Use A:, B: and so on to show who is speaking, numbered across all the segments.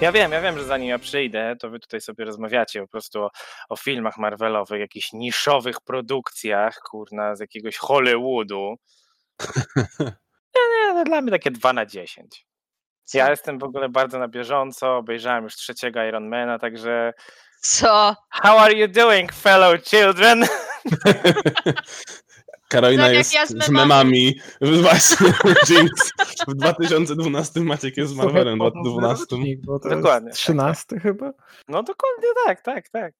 A: Ja wiem, ja wiem, że zanim ja przyjdę, to wy tutaj sobie rozmawiacie po prostu o, o filmach Marvelowych, jakichś niszowych produkcjach, kurna, z jakiegoś Hollywoodu. Nie, nie, no dla mnie takie 2 na 10. Ja
B: Co?
A: jestem w ogóle bardzo na bieżąco, obejrzałem już trzeciego Ironmana, także
B: Co?
A: How are you doing, fellow children?
C: Karolina
B: Tak jak
C: jest
B: ja z
C: z
B: memami.
C: memami. Właśnie, Jinx. W 2012 Maciek jest z Marvelem, w 2012.
A: Dokładnie,
D: Dokładnie.
A: tak,
D: 13 chyba?
A: No dokładnie tak, tak, tak.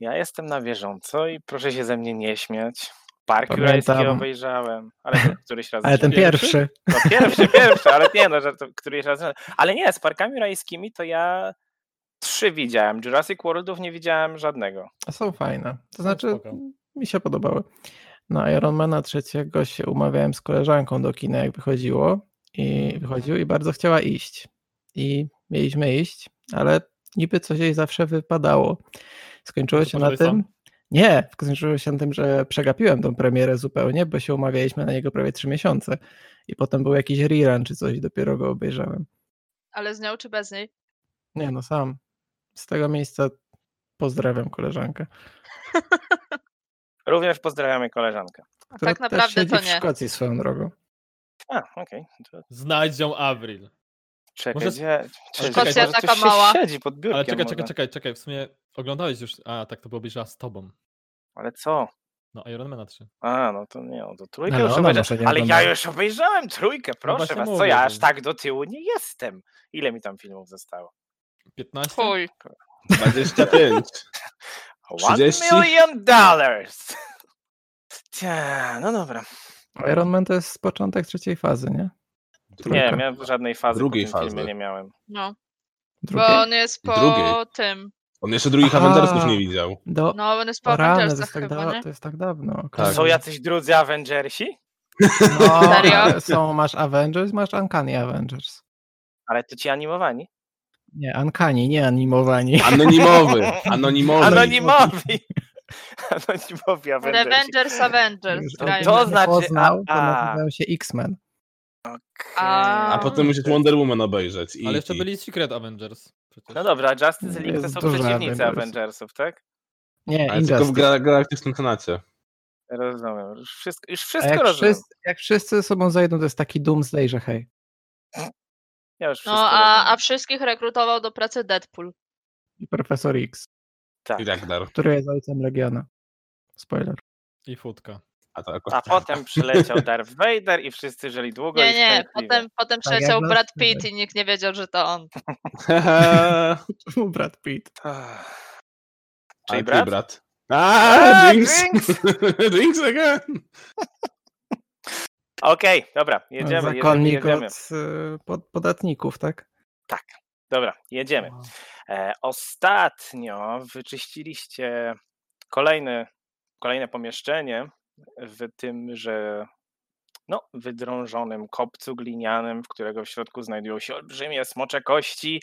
A: Ja jestem na bieżąco i proszę się ze mnie nie śmiać. Park
D: Pamiętam.
A: Jurajski obejrzałem, ale to któryś raz.
D: Ale ten
A: jeszcze-
D: pierwszy.
A: No, pierwszy, pierwszy, ale nie no, że to któryś raz. Ale nie, z parkami rajskimi to ja trzy widziałem. Jurassic Worldów nie widziałem żadnego.
D: Są fajne. To znaczy,
E: spoko.
D: mi się podobały. Na Ironmana trzeciego się umawiałem z koleżanką do kina, jak wychodziło i wychodził i bardzo chciała iść. I mieliśmy iść, ale niby coś jej zawsze wypadało. Skończyło
E: No to
D: się na
E: poszedłeś
D: tym. Nie, skończyło się na tym, że przegapiłem tą premierę zupełnie, bo się umawialiśmy na niego prawie trzy miesiące. I potem był jakiś rerun czy coś, i dopiero go obejrzałem.
B: Ale z nią czy bez niej?
D: Nie, no sam. Z tego miejsca pozdrawiam koleżankę.
A: Również pozdrawiamy koleżankę.
B: A
D: która
B: tak naprawdę
D: też
B: to
D: siedzi w
B: nie.
D: Szkocji swoją drogą.
A: A, okej. to
E: Znajdź ją Avril.
A: Czekaj,
E: Może-
A: gdzie... czekaj,
E: Szkocja
A: może
B: taka
A: ktoś się
B: mała.
A: siedzi pod biurkiem.
E: Ale czekaj, czekaj,
A: może.
E: czekaj, czekaj. W sumie oglądałeś już. A, tak, to było obejrzała z tobą.
A: Ale co?
E: No, Ironmana 3.
A: A, no to nie, no to trójkę
D: Ale
A: już
D: ona może
A: obejrzałem.
D: nie
A: Ale ja
D: oglądała.
A: już obejrzałem trójkę, proszę
E: właśnie
A: was, co
E: mówię,
A: ja
E: że-
A: aż tak do tyłu nie jestem. Ile mi tam filmów zostało?
E: 15?
B: Chuj.
C: 25.
A: One
C: 30?
A: million dollars! Tia, no dobra.
D: Iron Man to jest początek trzeciej fazy, nie?
A: Nie,
D: Trójka.
A: ja żadnej fazy
C: Drugiej
A: po tym filmie
C: fazy.
A: nie miałem.
B: No.
D: Drugiej?
B: Bo on jest po
C: Drugiej.
B: tym.
C: On jeszcze drugich
D: Aha.
C: Avengersów nie widział.
D: Do...
B: No, on jest po
D: o rany, to
B: Avengersach
D: jest, tak
B: chyba,
D: da...
B: nie?
D: to jest tak dawno.
A: To
C: Tak.
D: okej.
A: Są jacyś drudzy Avengersi?
D: No,
B: Serio?
D: ale są, masz Avengers, masz Uncanny Avengers.
A: Ale to ci animowani.
D: Nie, Uncanny, nie animowani.
C: Anonimowy. Anonimowy.
A: Anonimowi. Anonimowi Avengersi.
B: Revengers Avengers.
A: To-
B: grajmy.
A: to
D: Jak mnie
A: znaczy-
D: Poznał, to
A: a-
D: nazywają się X-Men.
B: A-
C: A potem musisz Wonder Woman obejrzeć. I,
E: Ale jeszcze
C: i-
E: byli Secret Avengers. Przecież.
A: No dobra, a Justice League to
D: Jest
A: są
D: dużo
A: przeciwnicy
D: Avengersów.
A: Avengersów, tak?
D: Nie,
C: Ale tylko w
D: Injustice.
C: gra- Galaktycznym Senacie.
A: Rozumiem. Już wszystko, już
D: A
A: wszystko
D: jak,
A: rozumiem.
D: wszyscy, jak wszyscy ze sobą zajdą, to jest taki Doomsday, że hej.
A: Ja już wszystko
B: No, a, a
A: rozumiem.
B: wszystkich rekrutował do pracy Deadpool.
D: I Profesor X,
C: I
A: Tak.
C: tak dalej.
D: który jest ojcem Legiona. Spoiler.
E: I futka.
C: A, to akurat-
A: A potem przyleciał Darth Vader i wszyscy żyli długo
B: Nie,
A: i
B: nie,
A: szczęśliwie.
B: potem, potem
D: Tak jak
B: przyleciał
D: nas
B: Brad
D: tutaj.
B: Pitt i nikt nie wiedział, że to on.
D: Czemu Brad Pitt?
A: Ach.
C: A
A: Czyli
C: ty,
A: brat?
C: brat? A,
A: A,
C: Jinx!
A: Jinx!
C: Jinx again!
A: Okej, dobra, jedziemy, jedziemy,
D: No, Zakonnik
A: jedziemy.
D: od y, pod, podatników, tak?
A: Dobra, jedziemy. E, ostatnio wyczyściliście kolejne, kolejne pomieszczenie w tymże no, wydrążonym kopcu glinianym, w którego w środku znajdują się olbrzymie smocze kości.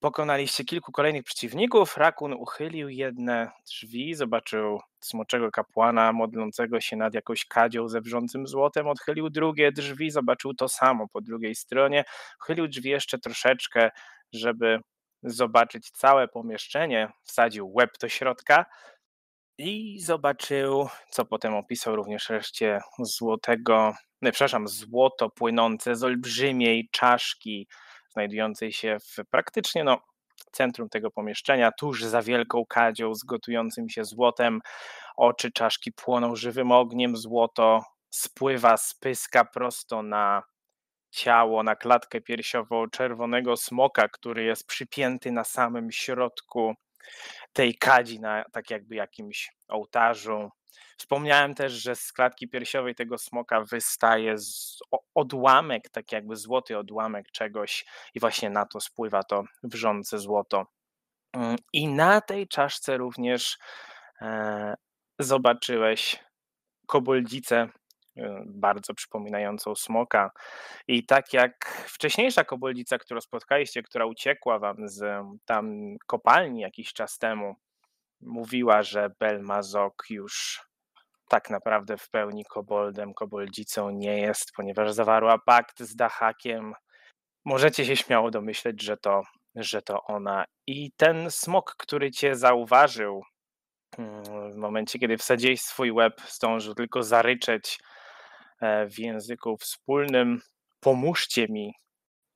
A: Pokonaliście kilku kolejnych przeciwników. Rakun uchylił jedne drzwi, zobaczył smoczego kapłana modlącego się nad jakąś kadzią ze wrzącym złotem. Odchylił drugie drzwi, zobaczył to samo po drugiej stronie. Uchylił drzwi jeszcze troszeczkę, żeby zobaczyć całe pomieszczenie, wsadził łeb do środka i zobaczył, co potem opisał również reszcie złotego, nie, przepraszam, złoto płynące z olbrzymiej czaszki, znajdującej się w praktycznie no, centrum tego pomieszczenia, tuż za wielką kadzią z gotującym się złotem. Oczy czaszki płoną żywym ogniem, złoto spływa z pyska prosto na ciało na klatkę piersiową czerwonego smoka, który jest przypięty na samym środku tej kadzi, na tak jakby jakimś ołtarzu. Wspomniałem też, że z klatki piersiowej tego smoka wystaje z o- odłamek, tak jakby złoty odłamek czegoś, i właśnie na to spływa to wrzące złoto. Mm, I na tej czaszce również e, zobaczyłeś koboldzicę, e, bardzo przypominającą smoka, i tak jak wcześniejsza koboldzica, którą spotkaliście, która uciekła wam z em, tam kopalni jakiś czas temu, mówiła, że Belmazok już tak naprawdę w pełni koboldem, koboldzicą nie jest, ponieważ zawarła pakt z Dahakiem. Możecie się śmiało domyśleć, że to że to ona. I ten smok, który cię zauważył mm, w momencie, kiedy wsadziłeś swój łeb, zdążył tylko zaryczeć e, w języku wspólnym pomóżcie mi.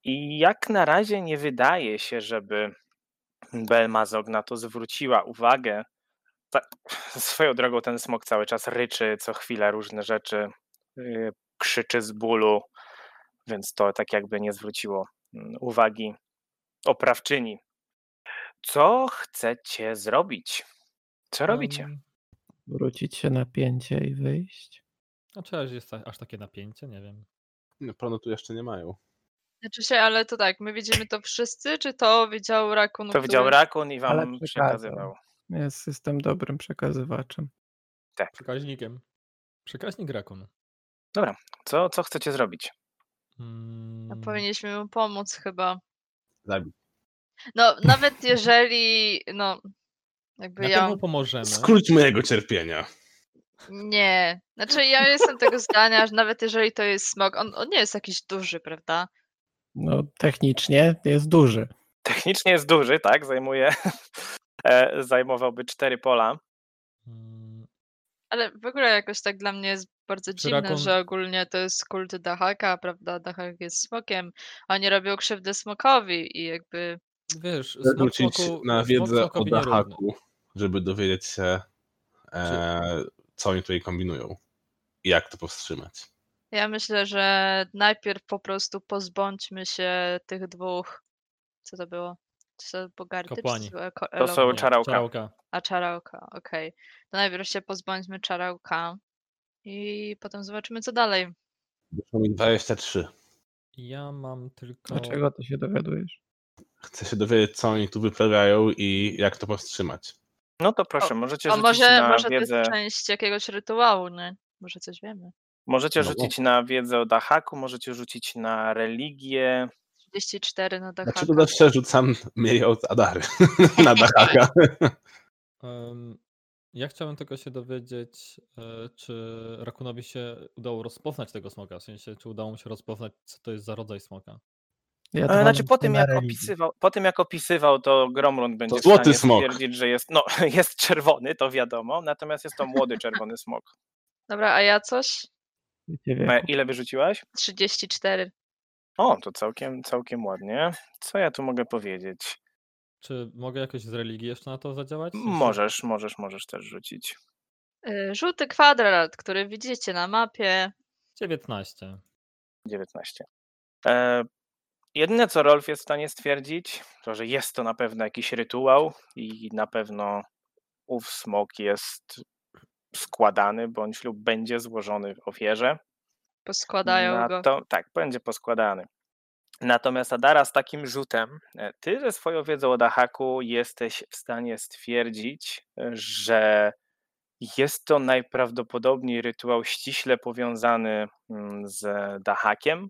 A: I jak na razie nie wydaje się, żeby Belmazog na to zwróciła uwagę. Ta, swoją drogą ten smok cały czas ryczy, co chwilę różne rzeczy, y, krzyczy z bólu, więc to tak jakby nie zwróciło mm, uwagi oprawczyni. Co chcecie zrobić? Co
D: Um,
A: robicie?
E: Em,
D: Wrócić się na pięcie i wyjść.
E: A czy aż jest ta- aż takie napięcie? Nie wiem.
C: No, Planu tu jeszcze nie mają.
B: Znaczy się, ale to tak, my widzimy to wszyscy, czy to widział Rakun?
A: To widział Rakun i
D: Ale
A: wam
D: przekazał.
A: przekazywał.
D: Jest, jestem dobrym przekazywaczem.
E: Przekaźnikiem. Przekaźnik Rakun.
A: Co, co chcecie zrobić?
B: No,
E: Mm,
B: powinniśmy mu pomóc chyba.
C: Zabić.
B: No, nawet jeżeli, no, jakby
E: Na
B: ja...
E: pewno pomożemy.
C: Skróćmy jego cierpienia.
B: Nie. Znaczy ja jestem tego zdania, że nawet jeżeli to jest smog, on, on nie jest jakiś duży, prawda?
D: No, technicznie jest duży.
A: Technicznie jest duży, tak? Zajmuje, e, zajmowałby cztery pola.
E: Mm,
B: Ale w ogóle jakoś tak dla mnie jest bardzo dziwne,
E: rakun-
B: że ogólnie to jest kult Dahaka, prawda? Dahak jest smokiem. Oni robią krzywdę smokowi i jakby...
E: Wiesz, smok
C: Wrócić
E: smoku,
C: na
E: smok
C: wiedzę o
E: smokowi nierówny.
C: Dahaku, żeby dowiedzieć się, e, co oni tutaj kombinują i jak to powstrzymać.
B: Ja myślę, że najpierw po prostu pozbądźmy się tych dwóch... Co to było? Czy to bogarty?
E: Kapłani.
B: Czy to, eko-
A: To są
B: elony?
E: Nie,
A: czarałka.
E: czarałka.
B: A czarałka, okej. To najpierw się pozbądźmy czarałka i potem zobaczymy, co dalej.
C: Wyszło mi 23.
E: Ja mam tylko...
A: No.
D: Dlaczego to się dowiadujesz?
C: Chcę się dowiedzieć, co oni tu wyprawiają i jak to powstrzymać.
A: No to proszę, możecie
B: A
A: rzucić
B: może,
A: na
B: może to
A: wiedzę.
B: jest część jakiegoś rytuału, nie? Może coś wiemy.
A: Możecie
C: No bo-
A: rzucić na wiedzę o Dahaku, możecie rzucić na religię.
B: 34 na dachach.
C: Dlaczego Znaczy, zawsze rzucam mieli od Adary na Dahaka?
E: Em, Ja chciałem tylko się dowiedzieć, e, czy Rakunowi się udało rozpoznać tego smoka, w sensie, czy udało mu się rozpoznać, co to jest za rodzaj smoka.
D: Ja
A: E,
D: to mam
A: Znaczy po tym,
D: na
A: jak
D: religii.
A: opisywał, po tym jak opisywał, to Gromlund będzie
C: złoty
A: w stanie
C: smok.
A: stwierdzić, że jest, no, jest czerwony, to wiadomo, natomiast jest to młody czerwony smok.
B: Dobra, a ja coś?
D: Wiecie,
A: E,
D: wieku.
A: Ile wyrzuciłaś?
B: 34.
A: O, to całkiem, całkiem ładnie. Co ja tu mogę powiedzieć?
E: Czy mogę jakoś z religii jeszcze na to zadziałać? W sensie,
A: Możesz, możesz, możesz też rzucić.
B: Y, Żółty kwadrat, który widzicie na mapie.
E: 19.
A: 19. E, jedyne, co Rolf jest w stanie stwierdzić, to że jest to na pewno jakiś rytuał i na pewno ów smok jest składany bądź lub będzie złożony w ofierze.
B: Poskładają go.
A: Nato- Tak, będzie poskładany. Natomiast Adara z takim rzutem, e, ty ze swoją wiedzą o Dahaku jesteś w stanie stwierdzić, e, że jest to najprawdopodobniej rytuał ściśle powiązany mm, z Dahakiem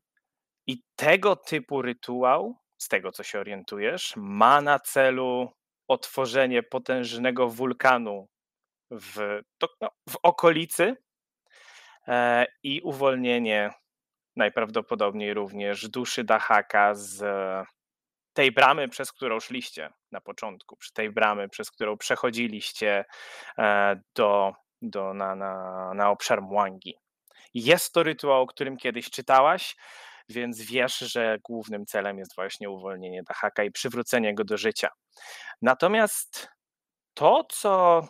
A: i tego typu rytuał, z tego co się orientujesz, ma na celu otworzenie potężnego wulkanu w, to, no, w okolicy e, i uwolnienie najprawdopodobniej również duszy Dahaka z e, tej bramy, przez którą szliście na początku, przy tej bramy, przez którą przechodziliście e, do, do, na, na, na obszar Mwangi. Jest to rytuał, o którym kiedyś czytałaś, więc wiesz, że głównym celem jest właśnie uwolnienie Dahaka i przywrócenie go do życia. Natomiast to, co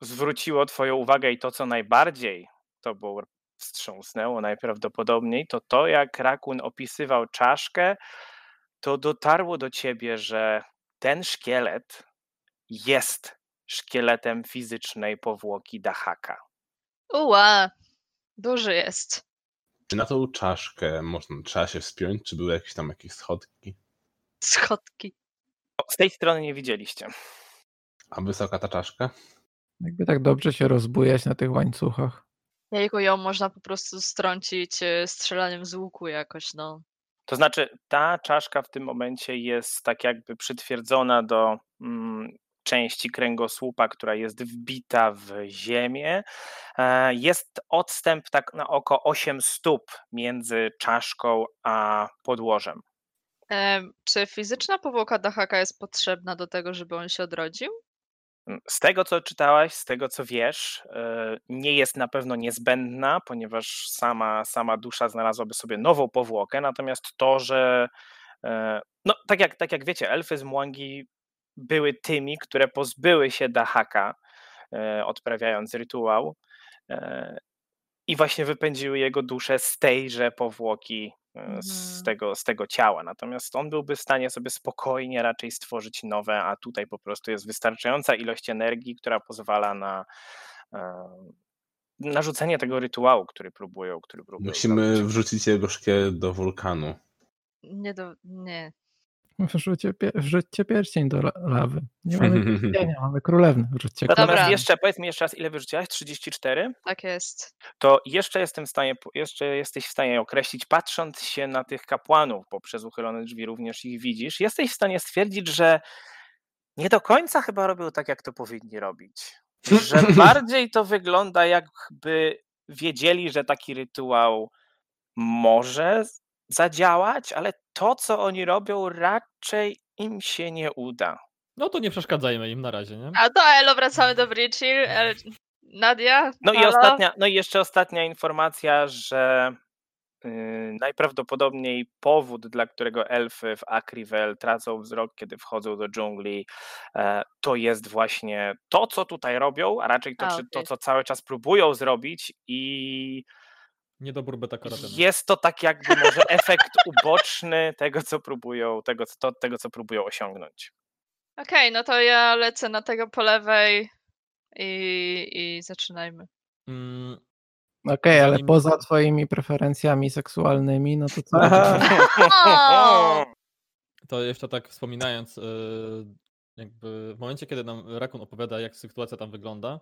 A: zwróciło Twoją uwagę i to, co najbardziej Tobą wstrząsnęło najprawdopodobniej, to to, jak Rakun opisywał czaszkę, to dotarło do ciebie, że ten szkielet jest szkieletem fizycznej powłoki Dahaka.
B: Uła! Duży jest.
C: Czy na tą czaszkę można, trzeba się wspiąć? Czy były jakieś tam jakieś schodki?
B: Schodki.
A: O, Z tej strony nie widzieliście.
C: A wysoka ta czaszka?
D: Jakby tak dobrze się rozbujać na tych łańcuchach.
B: Jego ją można po prostu strącić y, strzelaniem z łuku jakoś, no.
A: To znaczy, ta czaszka w tym momencie jest tak jakby przytwierdzona do mm, części kręgosłupa, która jest wbita w ziemię. E, Jest odstęp tak na oko 8 stóp między czaszką a podłożem.
B: Em, czy fizyczna powłoka Dahaka jest potrzebna do tego, żeby on się odrodził?
A: Mm, Z tego, co czytałaś, z tego, co wiesz, e, nie jest na pewno niezbędna, ponieważ sama, sama dusza znalazłaby sobie nową powłokę, natomiast to, że e, no, tak, jak, tak jak wiecie, elfy z Mwangi były tymi, które pozbyły się Dahaka, e, odprawiając rytuał e, i właśnie wypędziły jego duszę z tejże powłoki, e, z
B: Mhm.
A: tego, z tego ciała. Natomiast on byłby w stanie sobie spokojnie raczej stworzyć nowe, a tutaj po prostu jest wystarczająca ilość energii, która pozwala na e, narzucenie tego rytuału, który próbują, który próbują
C: Musimy
A: zrobić.
C: wrzucić jego szkiel do wulkanu.
B: Nie do. Nie.
D: Wrzućcie, pie- wrzućcie pierścień do la- lawy. Nie mamy pierścienia, mamy królewny. Wrzućcie
B: No Dobra.
A: Natomiast jeszcze, powiedz mi jeszcze raz, ile wyrzuciłaś? 34?
B: Tak jest.
A: to jeszcze jestem w stanie, po- jeszcze jesteś w stanie określić, patrząc się na tych kapłanów, bo przez uchylone drzwi również ich widzisz, jesteś w stanie stwierdzić, że nie do końca chyba robią tak, jak to powinni robić. Że bardziej to wygląda, jakby wiedzieli, że taki rytuał może z- zadziałać, ale to, co oni robią, raczej im się nie uda.
E: No to nie przeszkadzajmy im na razie, nie?
B: A e, do Elo wracamy do Brici. El... e, Nadia?
A: No i,
B: halo?
A: ostatnia, no i jeszcze ostatnia informacja, że yy, najprawdopodobniej powód, dla którego elfy w Akrivel tracą wzrok, kiedy wchodzą do dżungli, e, to jest właśnie to, co tutaj robią, a raczej to,
B: A,
A: czy, to
B: okej.
A: co cały czas próbują zrobić i
E: Niedobór beta karotenu.
A: jest to tak jakby może efekt uboczny tego, co próbują, tego, co- to, tego, co próbują osiągnąć.
B: Okej, no to ja lecę na tego po lewej i, i zaczynajmy.
E: Mm,
D: Okej, ale
E: Zanim-
D: poza twoimi preferencjami seksualnymi, no to co?
B: O!
E: To jeszcze tak wspominając, yy, jakby w momencie, kiedy nam Rakun opowiada, jak sytuacja tam wygląda.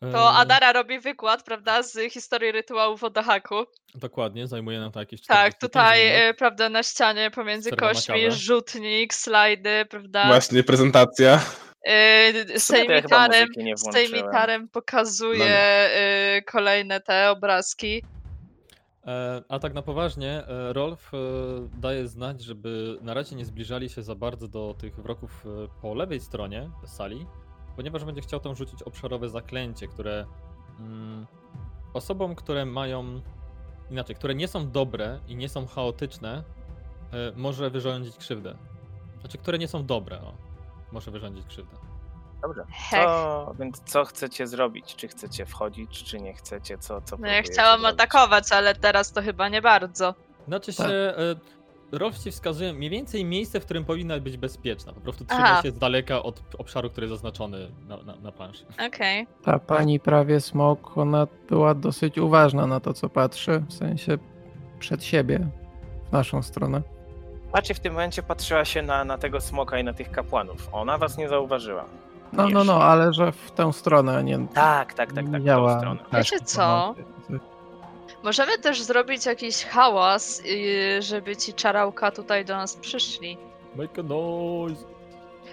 B: To
E: yy,
B: Adara robi wykład, prawda, z historii rytuałów o Dahaku.
E: Dokładnie, zajmuje nam to jakieś 45
B: Tak, tutaj,
E: minut.
B: e, prawda, na ścianie pomiędzy
E: Przerwa na
B: kośćmi
E: kawę.
B: rzutnik, slajdy, prawda,
C: Właśnie prezentacja.
B: e,
A: W sumie to ja chyba
B: sejmitarem,
A: muzyki nie włączyłem.
B: sejmitarem pokazuje e, kolejne te obrazki.
E: E, A tak na poważnie, e, Rolf e, daje znać, żeby na razie nie zbliżali się za bardzo do tych wroków e, po lewej stronie sali, ponieważ będzie chciał tam rzucić obszarowe zaklęcie, które mm, osobom, które mają inaczej, które nie są dobre i nie są chaotyczne, e, może wyrządzić krzywdę. Znaczy, które nie są dobre, o, może wyrządzić krzywdę.
A: Dobrze.
B: Hech.
A: Co, więc co chcecie zrobić? Czy chcecie wchodzić, czy nie chcecie? Co, co
B: No ja
A: próbujecie
B: chciałam
A: zrobić?
B: atakować, ale teraz to chyba nie bardzo.
E: Znaczy się,
D: Tak.
E: e, Rolf ci wskazuje mniej więcej miejsce, w którym powinna być bezpieczna. Po prostu
B: Aha.
E: trzyma się z daleka od obszaru, który jest zaznaczony na, na, na planszy.
B: Okej.
D: Ta pani prawie smok, ona była dosyć uważna na to, co patrzy, w sensie przed siebie, w naszą stronę.
A: Macie w tym momencie patrzyła się na, na tego smoka i na tych kapłanów. Ona was nie zauważyła.
D: No, no,
A: Jeszcze.
D: no, ale że w tę stronę, a nie
A: Tak, tak, tak, tak, w tą
D: miała No.
A: stronę.
D: też
B: Wiecie co?
D: informacji.
B: Możemy też zrobić jakiś hałas, yy, żeby ci czarałka tutaj do nas przyszli.
E: Make a noise!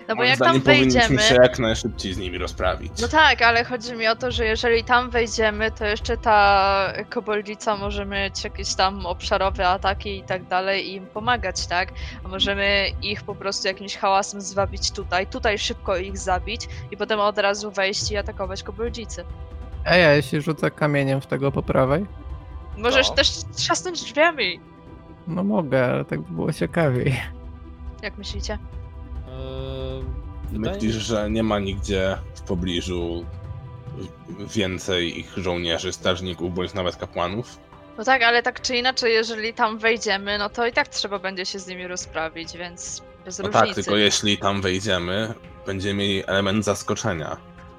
B: No bo
C: Moim
B: jak tam
C: zdaniem powinniśmy
B: wejdziemy...
C: się jak najszybciej z nimi rozprawić.
B: No tak, ale chodzi mi o to, że jeżeli tam wejdziemy, to jeszcze ta koboldzica może mieć jakieś tam obszarowe ataki i tak dalej i im pomagać, tak? A możemy ich po prostu jakimś hałasem zwabić tutaj, tutaj szybko ich zabić i potem od razu wejść i atakować koboldzicy.
D: Ej, a jeśli rzucę kamieniem w tego po prawej?
B: Możesz
A: To?
B: też trzasnąć drzwiami,
D: No mogę, ale tak by było ciekawiej.
B: jak myślicie?
E: Eee, wydaje mi
C: Myślisz, że nie ma nigdzie w pobliżu w- więcej ich żołnierzy, strażników bądź nawet kapłanów?
B: No tak, ale tak czy inaczej, jeżeli tam wejdziemy, no to i tak trzeba będzie się z nimi rozprawić, więc bez
C: No
B: różnicy.
C: tak, tylko jeśli tam wejdziemy, będziemy mieli element zaskoczenia.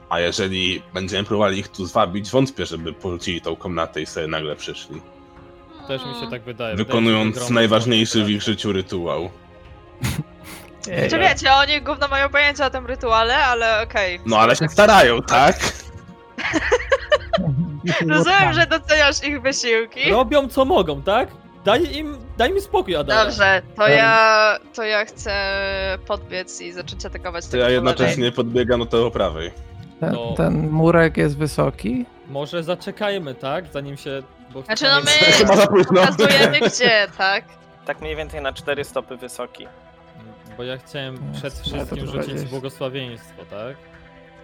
C: A jeżeli będziemy próbowali ich tu zwabić, wątpię, żeby porzucili tą komnatę i sobie nagle przyszli.
E: też mi się tak wydaje. Wydaje mi się, że
C: Wykonując
E: grom-
C: najważniejszy w ich życiu rytuał.
D: Ej,
B: Czy No wiecie, oni gówno mają pojęcie o tym rytuale, ale okej.
C: No ale się starają, tak?
B: Rozumiem, że doceniasz ich wysiłki.
E: Robią co mogą, tak? Daj im, daj mi spokój, Adam.
B: Dobrze, to
D: Em.
B: ja, to ja chcę podbiec i zacząć atakować
C: To
B: tego
C: ja
B: po lewej.
C: jednocześnie podbiegam do tego prawej.
D: Ten,
E: to-
D: ten murek jest wysoki?
E: Może zaczekajmy, tak? Zanim się... Bo
B: Znaczy, no my-
C: Chyba za późno.
B: Pokazujemy gdzie, tak?
A: tak mniej więcej na cztery stopy wysoki.
E: Bo ja chciałem
D: Jest,
E: przed
D: ale to
E: wszystkim
D: trochę
E: rzucić
D: jest.
E: błogosławieństwo, tak?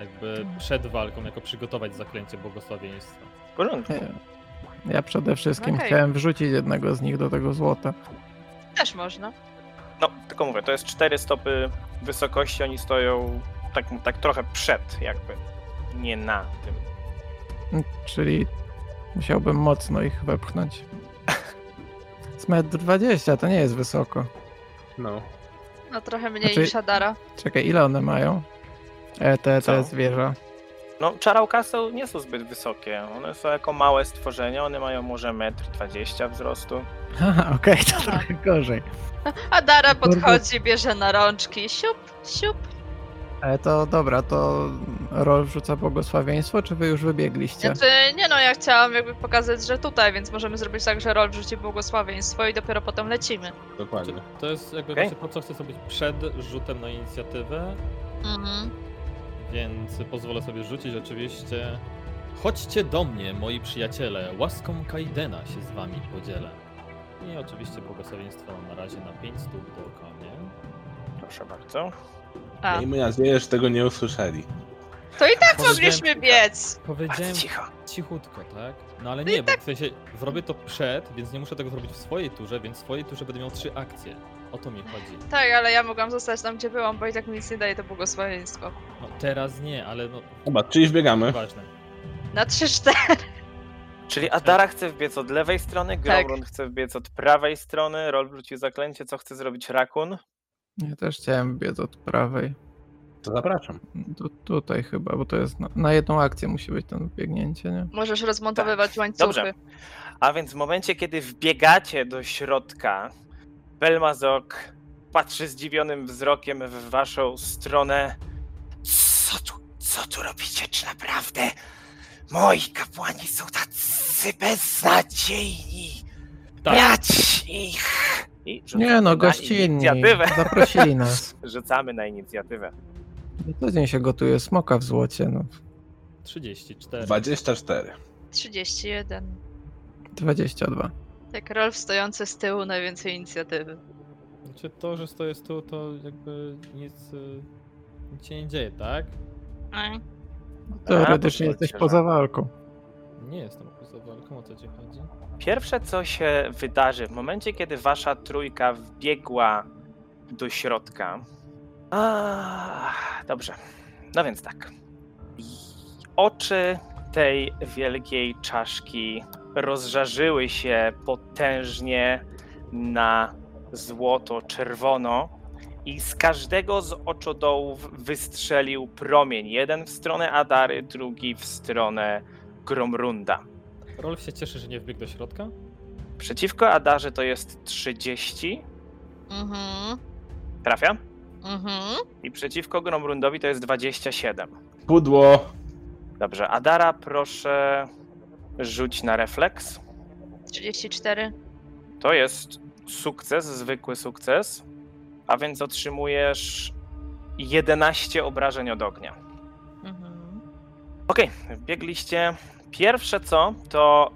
E: Jakby przed walką, jako przygotować zaklęcie błogosławieństwa.
A: W porządku.
D: Nie. Ja przede wszystkim
B: Okej.
D: chciałem wrzucić jednego z nich do tego złota.
B: Też można.
A: No, tylko mówię, to jest cztery stopy wysokości, oni stoją tak, tak trochę przed jakby, nie na tym.
D: Czyli musiałbym mocno ich wepchnąć. Z metr 20 to nie jest wysoko.
C: No.
B: No trochę mniej
D: Znaczy-
B: niż Adara.
D: Czekaj, ile one mają? E, te,
A: Co?
D: te zwierzę.
A: No, czarałkasy nie są zbyt wysokie. One są jako małe stworzenia, one mają może metr 20 wzrostu.
D: Haha, okej, to
B: Aha.
D: trochę gorzej.
B: Adara
D: Kurde.
B: podchodzi, bierze na rączki. Siup, siup.
D: E, to dobra, to Rol rzuca błogosławieństwo, czy wy już wybiegliście?
B: Znaczy, nie no, ja chciałam jakby pokazać, że tutaj, więc możemy zrobić tak, że Rol rzuci błogosławieństwo i dopiero potem lecimy.
E: Czy
C: Dokładnie.
E: Znaczy, to jest jakby
A: Okej.
E: właśnie to, co chcę zrobić przed rzutem na inicjatywę,
B: Mhm.
E: więc pozwolę sobie rzucić oczywiście. Chodźcie do mnie, moi przyjaciele, łaską Kaidena się z wami podzielę. I oczywiście błogosławieństwo na razie na 5 stóp dookoła mnie.
A: Proszę bardzo.
B: A,
C: Miejmy nadzieję, że tego nie usłyszeli.
B: to i tak
E: Powiedziałem-
B: mogliśmy biec.
E: Powiedziałem
A: Bardzo cicho.
E: cichutko, tak? No ale nie, bo w sensie zrobię to przed, więc nie muszę tego zrobić w swojej turze, więc w swojej turze będę miał trzy akcje. O to mi chodzi.
B: Tak, ale ja mogłam zostać tam, gdzie byłam, bo i tak mi nic nie daje to błogosławieństwo.
E: No teraz nie, ale no
C: Dobra, czyli wbiegamy.
E: ważne.
B: Na 3-4.
A: Czyli Adara chce wbiec od lewej strony, Gromrund chce wbiec od prawej strony, Rol wrócił zaklęcie, co chce zrobić Rakun?
D: Ja też chciałem biec od prawej.
C: To zapraszam.
A: Tak.
D: Tu, tutaj chyba, bo to jest na, na jedną akcję musi być ten biegnięcie, nie?
B: Możesz rozmontowywać łańcuchy.
A: Tak. Dobrze. A więc w momencie, kiedy wbiegacie do środka, Belmazok patrzy zdziwionym wzrokiem w waszą stronę. Co tu, co tu robicie, czy naprawdę? Moi kapłani są tacy beznadziejni!
E: Tak.
A: Brać ich! I rzucamy
D: Nie
A: na
D: no, gościnni.
A: Inicjatywę.
D: Zaprosili nas.
A: Rzucamy na inicjatywę.
D: Co No dzień się gotuje smoka w złocie, no.
E: 34.
C: 24.
B: 31.
D: 22.
B: Tak, Rolf stojący z tyłu, najwięcej inicjatywy.
E: Znaczy to, że stoję z tyłu, to jakby nic, y, nic się nie dzieje, tak?
B: Ej.
D: Teoretycznie
A: A,
D: jesteś
A: podchodźcie,
D: poza walką.
E: Nie jestem poza walką, o co ci chodzi?
A: Pierwsze, co się wydarzy w momencie, kiedy wasza trójka wbiegła do środka. A, dobrze. No więc tak. I Oczy tej wielkiej czaszki rozżarzyły się potężnie na złoto czerwono i z każdego z oczodołów wystrzelił promień. Jeden w stronę Adary, drugi w stronę Gromrunda.
E: Rolf się cieszy, że nie wbiegł do środka?
A: Przeciwko Adarze to jest 30.
B: Mhm.
A: Trafia.
B: Mhm.
A: I przeciwko Gromrundowi to jest 27.
C: Pudło.
A: Dobrze, Adara, proszę rzuć na refleks.
B: 34.
A: To jest sukces, zwykły sukces. A więc otrzymujesz 11 obrażeń od ognia.
B: Mhm.
A: Okej, biegliście. Pierwsze co, to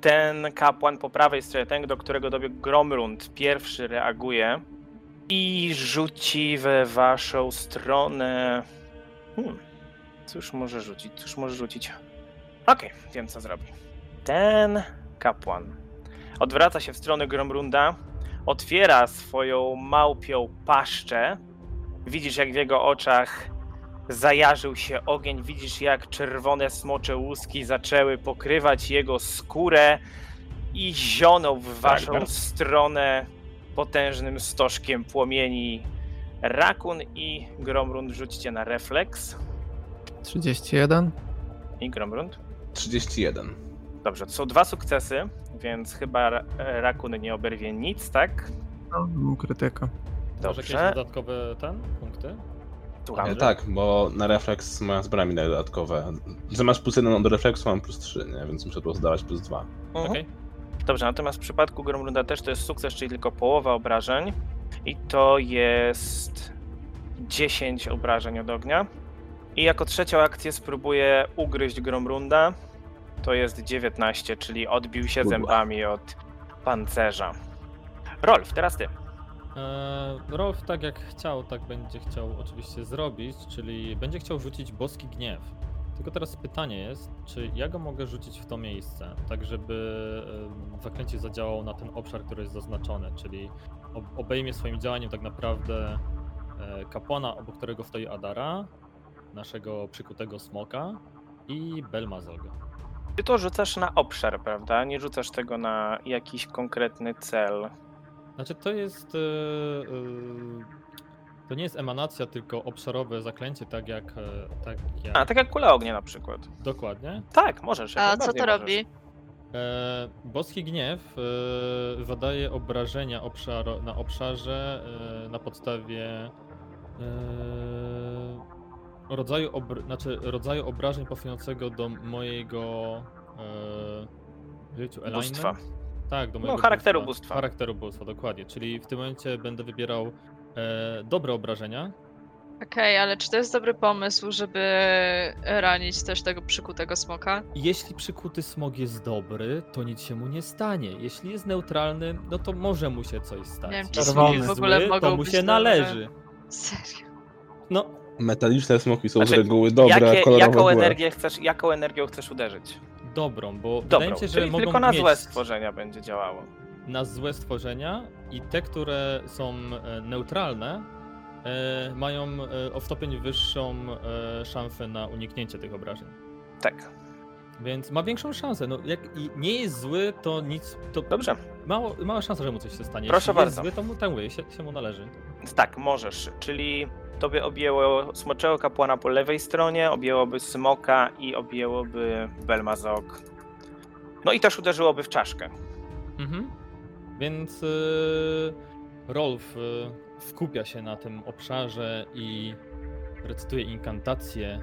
A: ten kapłan po prawej stronie, ten, do którego dobiegł Gromrund, pierwszy reaguje i rzuci we waszą stronę. Hmm, cóż może rzucić, cóż może rzucić. Okej, wiem co zrobi. Ten kapłan odwraca się w stronę Gromrunda, otwiera swoją małpią paszczę. Widzisz, jak w jego oczach zajarzył się ogień. Widzisz, jak czerwone smocze łuski zaczęły pokrywać jego skórę i zionął w waszą
C: bardzo.
A: stronę potężnym stożkiem płomieni. Rakun i Gromrund rzućcie na refleks.
D: 31.
A: I Gromrund.
C: 31.
A: Dobrze, to są dwa sukcesy, więc chyba Ra- Rakun nie oberwie nic, tak?
D: No, krytyka.
E: Może jakieś
A: Dobrze.
E: dodatkowe ten, punkty?
A: Słucham,
C: E,
A: że-
C: tak, bo na refleks ma z brami dodatkowe. Że masz plus 1 do refleksu, mam plus 3, nie? więc muszę tu zdawać plus 2.
A: Mhm.
E: Okej.
A: Dobrze, natomiast w przypadku Gromrunda też to jest sukces, czyli tylko połowa obrażeń. I to jest 10 obrażeń od ognia. I jako trzecią akcję spróbuję ugryźć Gromrunda. To jest 19, czyli odbił się
C: Kurwa.
A: zębami od pancerza. Rolf, teraz ty.
E: E, Rolf tak jak chciał, tak będzie chciał oczywiście zrobić, czyli będzie chciał rzucić boski gniew. Tylko teraz pytanie jest, czy ja go mogę rzucić w to miejsce, tak żeby em, zaklęcie zadziałało na ten obszar, który jest zaznaczony, czyli ob- obejmie swoim działaniem tak naprawdę e, kapłana, obok którego stoi Adara, naszego przykutego smoka i Belmazoga.
A: Ty to rzucasz na obszar, prawda? Nie rzucasz tego na jakiś konkretny cel.
E: Znaczy to jest. e, e, To nie jest emanacja, tylko obszarowe zaklęcie, tak jak. e, Tak jak
A: A, tak jak kula ognia na przykład.
E: Dokładnie.
A: Tak, możesz. jak
B: A co
A: najbardziej
B: to
A: możesz.
B: robi?
E: E, boski gniew e, zadaje obrażenia obszaro, na obszarze e, na podstawie e, rodzaju, obr, znaczy rodzaju obrażeń pasującego do mojego e, życiu alignment.
A: Bóstwa.
E: Tak, do mojego
A: charakteru bóstwa.
E: Charakteru bóstwa, dokładnie. Czyli w tym momencie będę wybierał e, dobre obrażenia.
B: Okej, ale czy to jest dobry pomysł, żeby ranić też tego przykutego smoka?
E: Jeśli przykuty smog jest dobry, to nic się mu nie stanie. Jeśli jest neutralny, no to może mu się coś stać.
B: wiem, czy
E: Jeśli
D: smoki
E: jest
D: w
B: ogóle
E: zły,
B: mogą
E: to mu
B: być
E: się
B: dobre.
E: należy.
B: Serio.
E: No,
C: Metaliczne smoki są
A: Znaczy,
C: z reguły dobre,
A: Jakie,
C: kolorowe
A: jaką,
C: były.
A: energię chcesz, jaką energią chcesz uderzyć?
E: dobrą, bo wydaje
A: Dobrą,
E: mi się, że
A: czyli
E: mogą
A: tylko na
E: mieć
A: złe stworzenia będzie działało.
E: na złe stworzenia i te, które są e, neutralne, e, mają e, o stopień wyższą e, szansę na uniknięcie tych obrażeń.
A: Tak,
E: Więc ma większą szansę. No, jak i nie jest zły, to nic. To
A: dobrze.
E: Mało, mała szansa, że mu coś się stanie.
A: Proszę
E: Jeśli
A: bardzo.
E: Jest zły, to mu tęły, się, się mu należy.
A: Tak, możesz. Czyli tobie objęło smoczego kapłana po lewej stronie, objęłoby smoka i objęłoby Belmazok. No i też uderzyłoby w czaszkę.
E: Mhm. Więc y, Rolf y, skupia się na tym obszarze i recytuje inkantację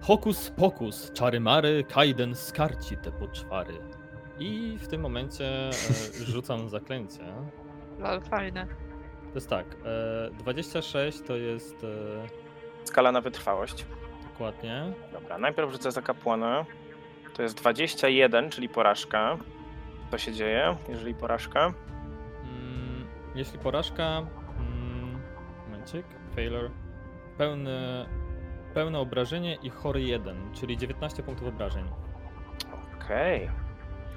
E: Hokus pokus, czary mary, kajden skarci te poczwary. I w tym momencie e, rzucam zaklęcie.
B: Lol, fajne.
E: To jest tak, e, 26 to jest e,
A: Skala na wytrwałość.
E: dokładnie.
A: Dobra, najpierw rzucę za kapłana. To jest 21, czyli porażka. Co się dzieje, jeżeli porażka?
E: Mm, jeśli porażka, mm, momencik, failure, pełne, pełne obrażenie i chory 1, czyli 19 punktów obrażeń.
A: Okej.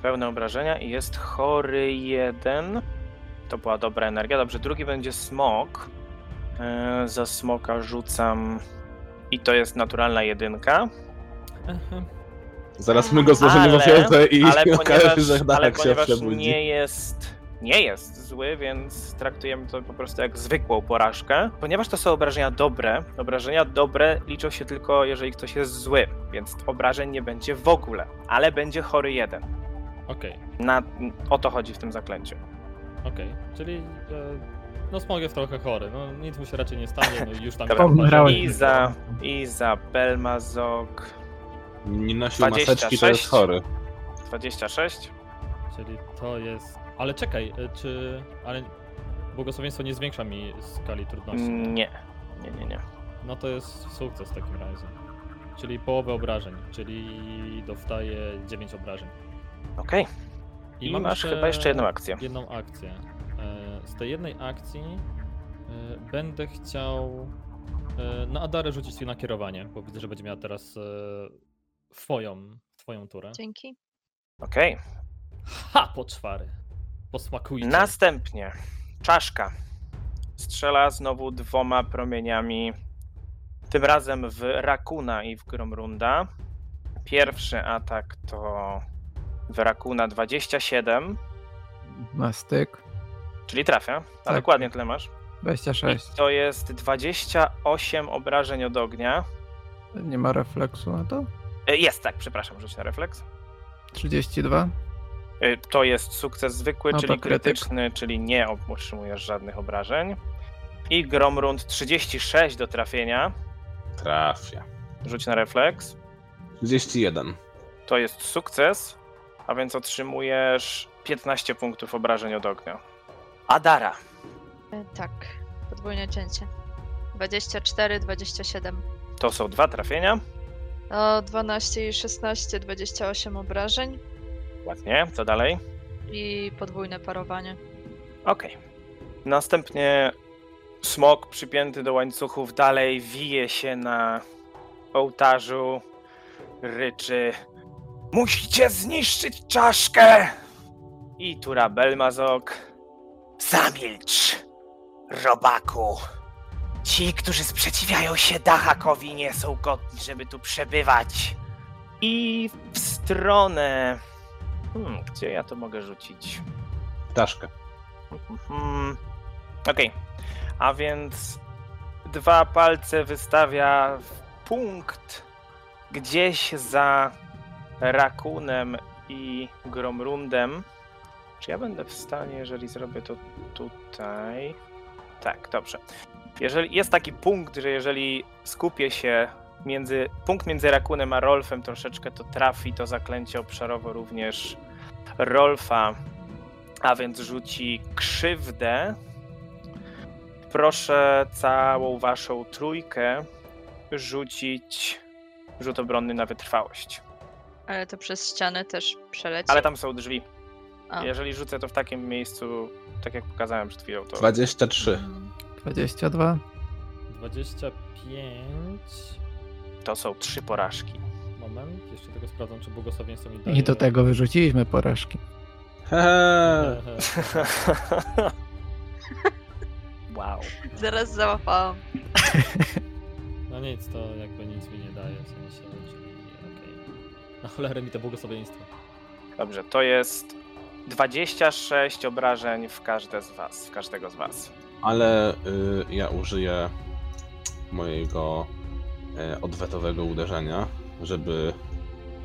A: Pełne obrażenia i jest chory jeden. To była dobra energia. Dobrze, drugi będzie smok. E, Za smoka rzucam. I to jest naturalna jedynka.
E: Aha.
C: Zaraz my go złożymy w
A: Ale-
C: ofiarę i
A: Ale
C: okaże się, że
A: ponieważ, ale
C: Darek się
A: ponieważ
C: przebudzi.
A: nie jest. Nie jest zły, więc traktujemy to po prostu jak zwykłą porażkę. Ponieważ to są obrażenia dobre, obrażenia dobre liczą się tylko, jeżeli ktoś jest zły, więc obrażeń nie będzie w ogóle, ale będzie chory jeden.
E: Okej,
A: Na, o to chodzi w tym zaklęciu.
E: okej, czyli e, no smog jest trochę chory, no nic mu się raczej nie stanie, no i już tam...
A: Dobra.
E: nie
D: Pomrałem.
E: zobaczy.
A: I za, i za Belmazok
C: Nie nosił
A: 26.
C: maseczki, to jest chory.
A: 26.
E: Czyli to jest... Ale czekaj, e, czy... ale błogosławieństwo nie zwiększa mi skali trudności.
A: Nie, nie, nie, nie.
E: No to jest sukces w takim razie. Czyli połowę obrażeń, czyli dostaję 9 obrażeń.
A: Okej,
E: I,
A: i,
E: mam
A: masz chyba jeszcze jedną akcję.
E: jedną akcję. E, Z tej jednej akcji e, będę chciał e, na Adarę rzucić na kierowanie, bo widzę, że będzie miała teraz e, twoją, twoją turę.
B: Dzięki.
A: Okej,
E: Ha, poczwary! Posmakujcie.
A: następnie czaszka. Strzela znowu dwoma promieniami, tym razem w Rakuna i w Gromrunda. Pierwszy atak to w Rakuna 27,
D: Na styk.
A: czyli trafia, a
D: Tak.
A: dokładnie tyle masz.
D: 26.
A: I to jest 28 obrażeń od ognia.
D: Nie ma refleksu na to?
A: E, Jest, tak, przepraszam, rzuć na refleks.
D: 32.
A: Y, To jest sukces zwykły,
D: No to
A: czyli
D: krytyk.
A: krytyczny, czyli nie ob- otrzymujesz żadnych obrażeń. I Gromrund 36 do trafienia.
C: Trafia.
A: Rzuć na refleks.
C: 31.
A: To jest sukces, a więc otrzymujesz 15 punktów obrażeń od ognia. Adara.
B: E, Tak, podwójne cięcie. 24, 27.
A: To są dwa trafienia.
B: No, 12 i 16, 28 obrażeń
A: Ładnie, co dalej?
B: i podwójne parowanie.
A: Okej. Następnie smok przypięty do łańcuchów dalej wije się na ołtarzu, ryczy Musicie zniszczyć czaszkę! I Tura Belmazok Zamilcz, robaku! Ci, którzy sprzeciwiają się Dachakowi, nie są godni, żeby tu przebywać. I w stronę... Hmm, gdzie ja to mogę rzucić?
C: Daszkę.
A: Mhm. Okej. A więc dwa palce wystawia w punkt gdzieś za Rakunem i Gromrundem. Czy ja będę w stanie, jeżeli zrobię to tutaj? Tak, dobrze. Jeżeli jest taki punkt, że jeżeli skupię się między punkt między Rakunem a Rolfem troszeczkę, to trafi to zaklęcie obszarowo również Rolfa, a więc rzuci krzywdę. Proszę całą waszą trójkę rzucić rzut obronny na wytrwałość.
B: Ale to przez ścianę też przeleci.
A: Ale tam są drzwi.
B: A.
A: Jeżeli rzucę to w takim miejscu, tak jak pokazałem przed chwilą, to
C: 23.
B: Mm,
D: 22.
E: 25.
A: to są trzy porażki.
E: Moment, jeszcze tego sprawdzam, czy błogosławieństwo mi daje.
D: I do tego wyrzuciliśmy porażki.
C: Hehe.
E: Ehe,
A: wow.
B: Zaraz załapałam.
E: No nic, to jakby nic mi nie daje, w sensie, czyli okej. Na cholerę mi to błogosławieństwo.
A: Dobrze, to jest 26 obrażeń w każde z was, w każdego z was.
C: Ale y, ja użyję mojego y, odwetowego uderzenia, żeby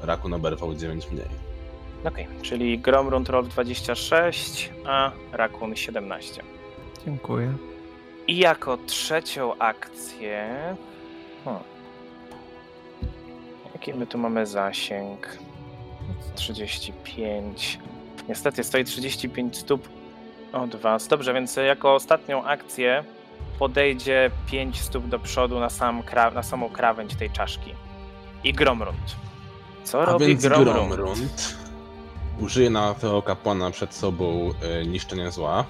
C: Rakun oberwał 9 mniej.
A: Okej, czyli Gromrund Rolf 26, a Rakun 17.
D: Dziękuję.
A: I jako trzecią akcję. Hmm. Jaki my tu mamy zasięg?
E: No co?
A: 35. Niestety stoi 35 stóp od was. Dobrze, więc jako ostatnią akcję podejdzie 5 stóp do przodu na, sam kra- na samą krawędź tej czaszki. I Gromrund. Co
C: A
A: robi
C: więc
A: Gromrund?
C: Gromrund użyje na tego kapłana przed sobą y, niszczenia zła.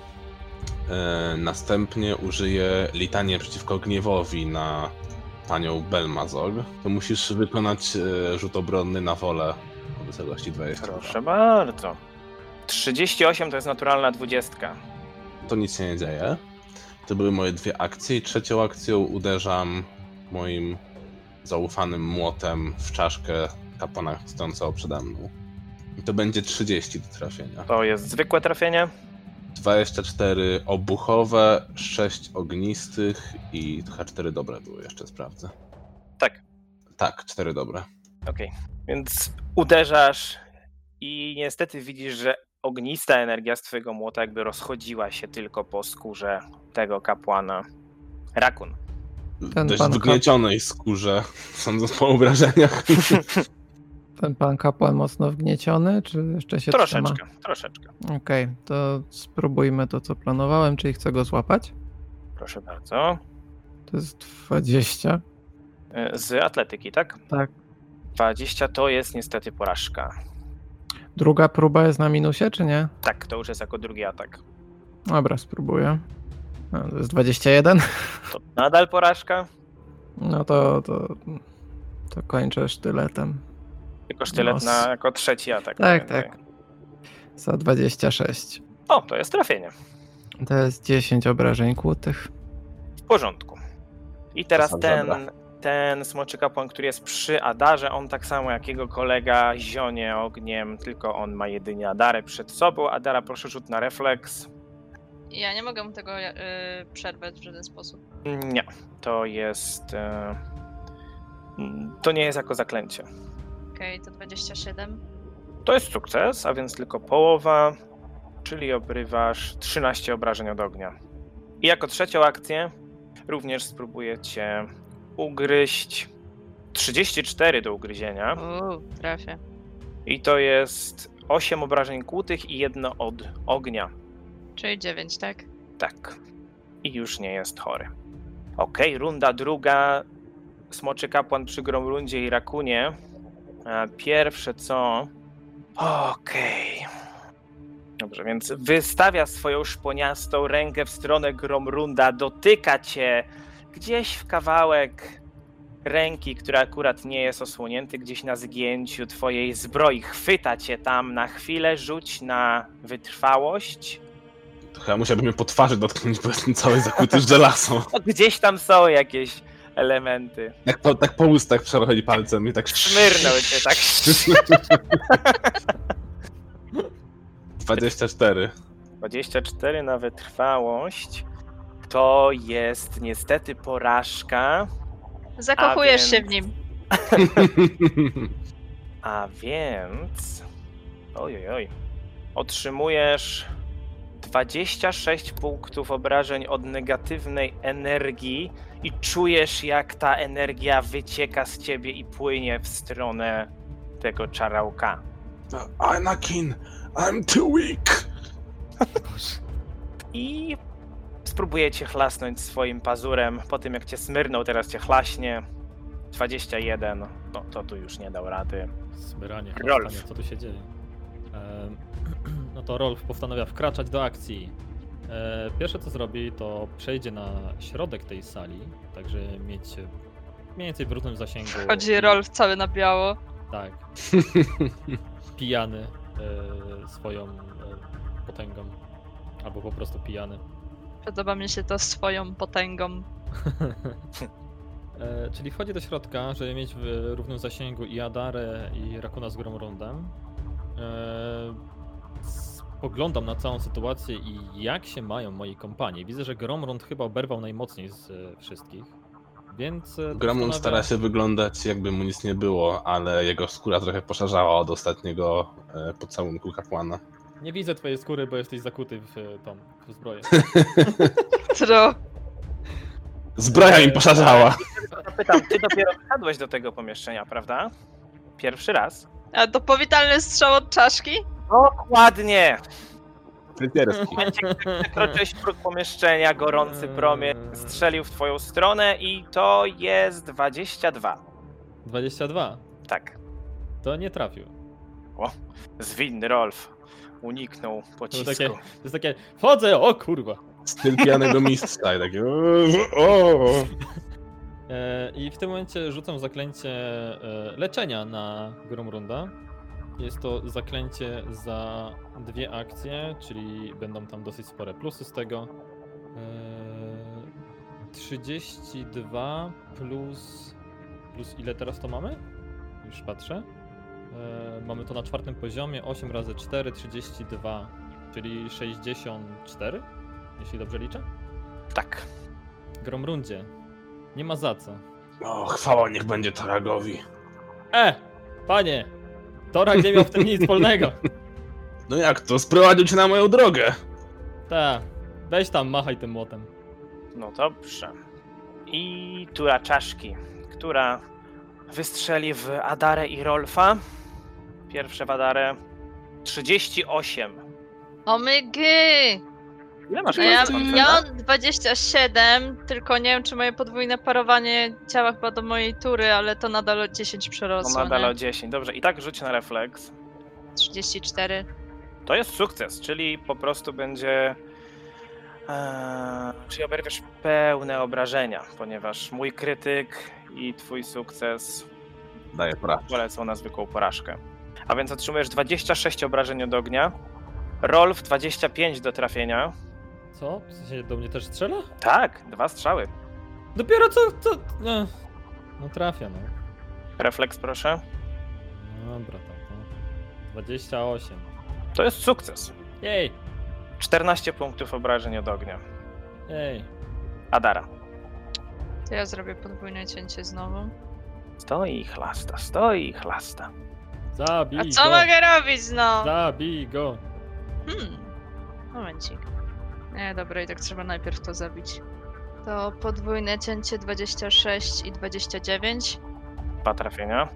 C: Y, następnie użyje litanie przeciwko gniewowi na panią Belmazog. To musisz wykonać y, rzut obronny na wolę o wysokości 20.
A: Proszę bardzo. 38 to jest naturalna 20.
C: To nic się nie dzieje. To były moje dwie akcje. I trzecią akcją uderzam moim zaufanym młotem w czaszkę kapłana stojącego przede mną. I to będzie 30 do trafienia.
A: To jest zwykłe trafienie.
C: 24 obuchowe, 6 ognistych i chyba 4 dobre były, jeszcze sprawdzę.
A: Tak.
C: Tak, 4 dobre.
A: Okej, więc uderzasz i niestety widzisz, że ognista energia z twojego młota jakby rozchodziła się tylko po skórze tego kapłana. Rakun.
D: Ten
C: Dość
D: pan-
C: wygniecionej skórze, sądząc po obrażeniach.
D: Ten pan kapłan mocno wgnieciony, czy jeszcze się trzyma?
A: Troszeczkę, troszeczkę.
D: Okej, to spróbujmy to, co planowałem, czyli chcę go złapać.
A: Proszę bardzo.
D: To jest 20.
A: E, Z atletyki, tak?
D: Tak.
A: 20 to jest niestety porażka.
D: Druga próba jest na minusie, czy nie?
A: Tak, to już jest jako drugi atak.
D: Dobra, spróbuję. No, to jest 21.
A: To nadal porażka,
D: No to, to, to kończę sztyletem.
A: tylko sztylet
D: Nos.
A: na jako trzeci atak.
D: Tak,
A: pamiętaj.
D: tak. Za 26.
A: O, to jest trafienie.
D: To jest 10 obrażeń kłutych.
A: W porządku. I teraz
C: sam
A: ten,
C: żebra.
A: ten smoczy kapłan, który jest przy Adarze, on tak samo jak jego kolega zionie ogniem, tylko on ma jedynie Adarę przed sobą. Adara, proszę rzut na refleks.
B: Ja nie mogę mu tego y, przerwać w żaden sposób.
A: Nie, to jest... e, mm, To nie jest jako zaklęcie.
B: Okej, to 27.
A: To jest sukces, a więc tylko połowa, czyli obrywasz 13 obrażeń od ognia. I jako trzecią akcję również spróbuję cię ugryźć. 34 do ugryzienia.
B: Uuu, trafię.
A: I to jest 8 obrażeń kłutych i jedno od ognia.
B: Czyli 9, tak?
A: Tak. I już nie jest chory. Okej, runda druga. Smoczy kapłan przy Gromrundzie i Rakunie. E, Pierwsze co... Okej. Dobrze, więc wystawia swoją szponiastą rękę w stronę Gromrunda, dotyka cię gdzieś w kawałek ręki, która akurat nie jest osłonięty, gdzieś na zgięciu twojej zbroi. Chwyta cię tam na chwilę, rzuć na wytrwałość.
C: To chyba musiałbym mnie po twarzy dotknąć, bo jestem cały zakryty żelazą.
A: No, gdzieś tam są jakieś elementy.
C: Tak po, tak po ustach przechodzi palcem i tak...
A: Smyrnął cię tak.
C: 24.
A: 24 na wytrwałość. To jest niestety porażka,
B: Zakochujesz
A: A
B: się
A: więc-
B: w nim.
A: a więc. Ojej, oj. Otrzymujesz 26 punktów obrażeń od negatywnej energii i czujesz, jak ta energia wycieka z ciebie i płynie w stronę tego czarałka.
C: Anakin, I'm too weak!
A: I spróbuję cię chlasnąć swoim pazurem. Po tym, jak cię smyrnął, teraz cię chlaśnie. 21. No to tu już nie dał rady.
E: Smyranie,
A: Rolf.
E: chlastanie, co tu się dzieje? Em, No to Rolf postanawia wkraczać do akcji. E, Pierwsze co zrobi, to przejdzie na środek tej sali, także mieć e, mniej więcej w równym zasięgu.
B: Chodzi Rolf cały na biało.
E: Tak, pijany e, swoją e, potęgą. Albo po prostu pijany.
B: Podoba mi się to swoją potęgą.
E: E, Czyli wchodzi do środka, żeby mieć w równym zasięgu i Adarę, i Rakuna z Gromrundem. E, Spoglądam na całą sytuację i jak się mają moi kompanie. Widzę, że Gromrund chyba oberwał najmocniej z e, wszystkich, więc... e,
C: Gramon
E: postanawia-
C: stara się wyglądać jakby mu nic nie było, ale jego skóra trochę poszarzała od ostatniego e, pocałunku kapłana.
E: Nie widzę twojej skóry, bo jesteś zakuty w e, tą w zbroję.
B: Tro.
C: Zbroja im poszarzała!
A: Zapytam, ty dopiero wpadłeś do tego pomieszczenia, prawda? Pierwszy raz.
B: A to powitalny strzał od czaszki?
A: Dokładnie!
C: Frytierski.
A: Przekroczyłeś próg pomieszczenia, gorący promień strzelił w twoją stronę i to jest 22.
E: 22.
A: Tak,
E: To nie trafił.
A: zwinny Rolf uniknął pocisku.
E: takie- To jest takie, wchodzę, o kurwa!
C: Styl pijanego mistrza i takie... O,
E: E, I w tym momencie rzucam zaklęcie e, leczenia na Gromrunda. Jest to zaklęcie za dwie akcje, czyli będą tam dosyć spore plusy z tego. E, 32 plus. Plus ile teraz to mamy? Już patrzę. E, Mamy to na czwartym poziomie 8 razy 4, 32, czyli 64, jeśli dobrze liczę.
A: Tak.
E: Gromrundzie. Nie ma za co.
C: o, chwała niech będzie Taragowi.
E: E! Panie! Torak nie miał w tym nic wspólnego.
C: No jak to? Sprowadził cię na moją drogę!
E: Ta. Tak. Weź tam, machaj tym młotem.
A: No dobrze. I tura czaszki, która wystrzeli w Adarę i Rolfa. Pierwsze w Adarę. 38.
B: Omygy!
A: Ile masz
B: A ja,
A: końcówek?
B: ja mam 27, tylko nie wiem, czy moje podwójne parowanie działa chyba do mojej tury, ale to nadal o 10
A: No
B: przerosło.
A: nadal o
B: nie?
A: 10. Dobrze, i tak rzuć na refleks.
B: 34.
A: To jest sukces, czyli po prostu będzie. Eee, czyli oberwiesz pełne obrażenia, ponieważ mój krytyk i twój sukces
C: Daję prawdę.
A: polecą na zwykłą porażkę. A więc otrzymujesz 26 obrażeń od ognia, Rolf 25 do trafienia.
E: Co? W sensie do mnie też strzela?
A: Tak, dwa strzały.
E: Dopiero co? co no. no trafia, no.
A: Refleks proszę.
E: Dobra, tam to. 28.
A: To jest sukces.
E: Jej!
A: 14 punktów obrażeń od ognia.
E: Jej!
A: Adara.
B: To ja zrobię podwójne cięcie znowu.
A: Stoi i chlasta, stoi i chlasta.
E: Zabij
B: A co
E: go!
B: mogę robić, no?
E: Zabij go!
B: Hmm. Momencik. Nie, dobra, i tak trzeba najpierw to zabić. To podwójne cięcie 26 i 29.
A: Dwa trafienia.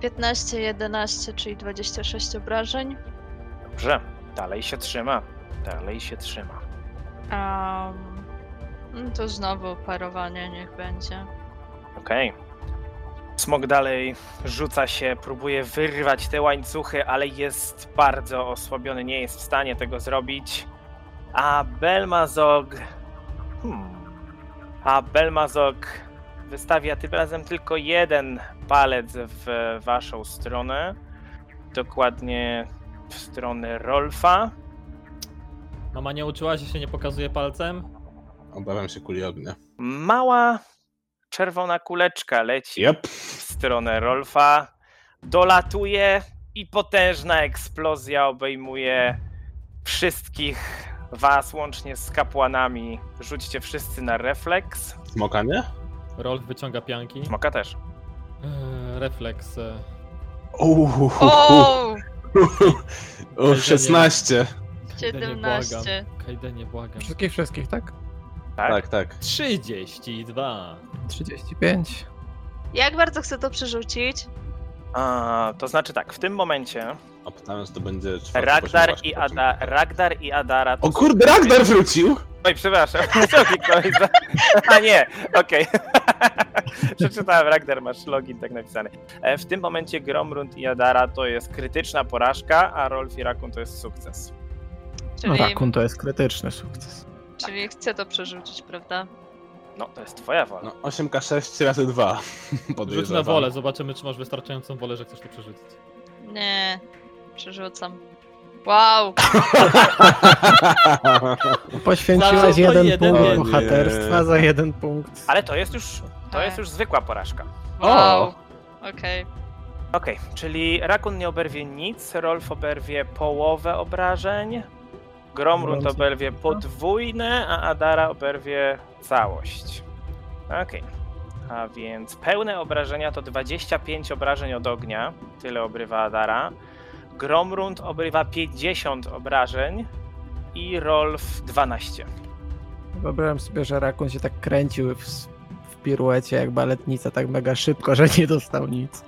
B: 15, 11, czyli 26 obrażeń.
A: Dobrze. Dalej się trzyma. Dalej się trzyma.
B: No Um, to znowu parowanie niech będzie.
A: Okej. Smok dalej rzuca się, próbuje wyrwać te łańcuchy, ale jest bardzo osłabiony, nie jest w stanie tego zrobić. A Belmazog. Hmm. A Belmazog wystawia tym razem tylko jeden palec w waszą stronę. Dokładnie w stronę Rolfa.
E: Mama nie uczyła się, się nie pokazuje palcem?
C: Obawiam się kuli ognia.
A: Mała czerwona kuleczka leci
C: Jep.
A: w stronę Rolfa. Dolatuje i potężna eksplozja obejmuje wszystkich was, łącznie z kapłanami. Rzućcie wszyscy na refleks.
C: Smoka nie?
E: Rolf wyciąga pianki.
A: Smoka też.
E: Eee, refleks. e,
B: O!
C: O, 16.
E: Kajdenie, błagam.
B: 17.
E: Kajdenie, błagam.
D: Wszystkich, wszystkich, tak?
A: Tak?
C: Tak, tak.
E: 32.
D: 35.
B: Jak bardzo chcę to przerzucić?
A: A, to znaczy tak, w tym momencie
C: Obstawiam, że to będzie czwarty
A: Ragdar
C: poziom
A: i,
C: waszych
A: Ada,
C: poczynków.
A: Ragdar i Adara. to
C: O
A: są-
C: kurde, Ragdar wrócił!
A: Oj, przepraszam. Sorry, kolega. A nie, okej. Przeczytałem, Ragnar, masz login tak napisany. E, W tym momencie Gromrund i Adara to jest krytyczna porażka, a Rolf i Rakun to jest sukces.
D: No
B: Czyli,
D: Rakun to jest krytyczny sukces.
B: czyli chcę to przerzucić, prawda?
A: No, to jest twoja wola.
C: No, 8k6 razy 2.
E: Rzuć na wolę, zobaczymy, czy masz wystarczającą wolę, że chcesz to przerzucić.
B: Nie, przerzucam. Wow!
D: Poświęciłaś
E: to
D: jeden,
E: jeden
D: punkt
E: jeden.
D: bohaterstwa za jeden punkt.
A: Ale to jest już, to jest już zwykła porażka.
B: Wow! Okej.
A: Okej, czyli Rakun nie oberwie nic, Rolf oberwie połowę obrażeń, Gromrund
D: Gromrund
A: oberwie podwójne, a Adara oberwie całość. Okej. A więc pełne obrażenia to 25 obrażeń od ognia, tyle obrywa Adara. Gromrund obrywa 50 obrażeń i Rolf 12.
D: Wyobrażam sobie, że Rakun się tak kręcił w, w piruecie jak baletnica, tak mega szybko, że nie dostał nic.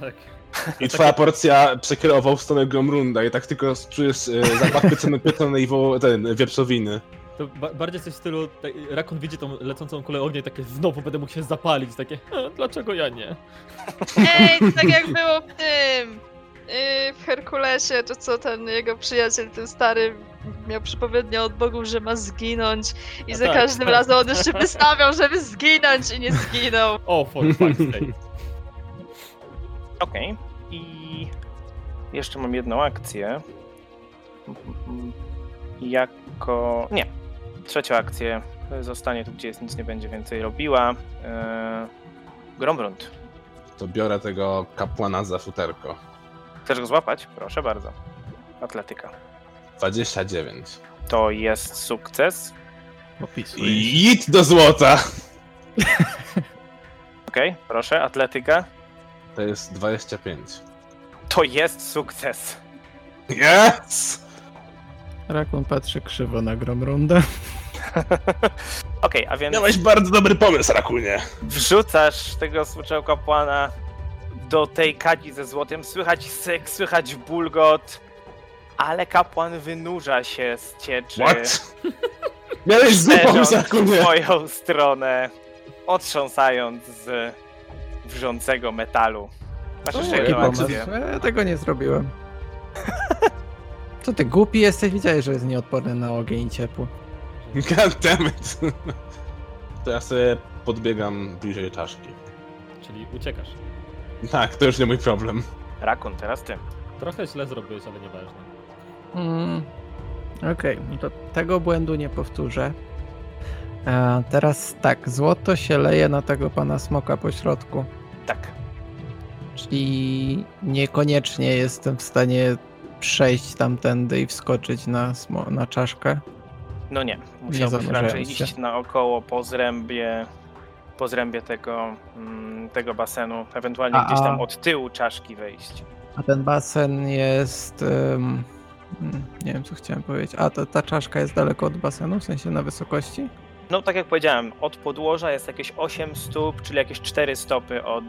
E: Tak.
C: I twoja porcja przekierował w stronę Gromrunda i tak tylko czujesz e, zapach piecony, pieczonej wo- ten, wieprzowiny.
E: To ba- bardziej coś w stylu, tak, Rakun widzi tą lecącą kulę ognia i takie znowu będę mógł się zapalić, takie "E, dlaczego ja nie?
B: Ej, to tak jak było w tym. Yy, w Herkulesie, to co ten jego przyjaciel, ten stary, miał przypowiednię od bogów, że ma zginąć. I
E: A
B: za
E: tak,
B: każdym
E: tak.
B: razem on jeszcze wystawiał, żeby zginąć i nie zginął.
E: O, for fuck's sake.
A: Okej. I jeszcze mam jedną akcję. Jako. Nie. Trzecią akcję. Zostanie tu, gdzie jest, nic nie będzie więcej robiła. Eee, Grombrund.
C: To biorę tego kapłana za futerko.
A: Chcesz go złapać? Proszę bardzo. Atletyka.
C: 29.
A: To jest sukces.
D: Opisuj.
C: I Idź do złota!
A: Okej, proszę, atletyka.
C: To jest 25.
A: To jest sukces.
C: Yes!
D: Rakun patrzy krzywo na Gromrunda.
A: Okej, a więc
C: Miałeś bardzo dobry pomysł, Rakunie.
A: wrzucasz tego słuczeł kapłana do tej kadzi ze złotem. Słychać syk, słychać bulgot, ale kapłan wynurza się z cieczy.
C: What? Miałeś zły
A: Leżąc
C: pomysł,
A: w
C: Rakunie.
A: twoją stronę, otrząsając z wrzącego metalu. Masz
C: O,
A: jeszcze
D: Eee,
C: jaki
A: jedną
C: pomysł.
A: akcję.
D: Ja tego nie zrobiłem. Co ty głupi jesteś? Widziałeś, że jest nieodporny na ogień i ciepło.
C: God damn it. To ja sobie podbiegam bliżej czaszki.
E: Czyli uciekasz.
C: Tak, to już nie mój problem.
A: Rakun, teraz ty.
E: Trochę źle zrobiłeś, ale nieważne.
D: Mm. Okej, no to tego błędu nie powtórzę. A teraz tak, złoto się leje na tego pana smoka po środku.
A: Tak.
D: Czyli niekoniecznie jestem w stanie przejść tamtędy i wskoczyć na, smo- na czaszkę.
A: No nie, musiałbyś
D: zanurzyłem
A: raczej
D: się.
A: iść naokoło po zrębie, po zrębie tego, mm, tego basenu, ewentualnie
D: A,
A: gdzieś tam
D: a-
A: od tyłu czaszki wejść.
D: A ten basen jest. em, mm, nie wiem, co chciałem powiedzieć. A ta, ta czaszka jest daleko od basenu, w sensie na wysokości?
A: No tak jak powiedziałem, od podłoża jest jakieś 8 stóp, czyli jakieś 4 stopy od,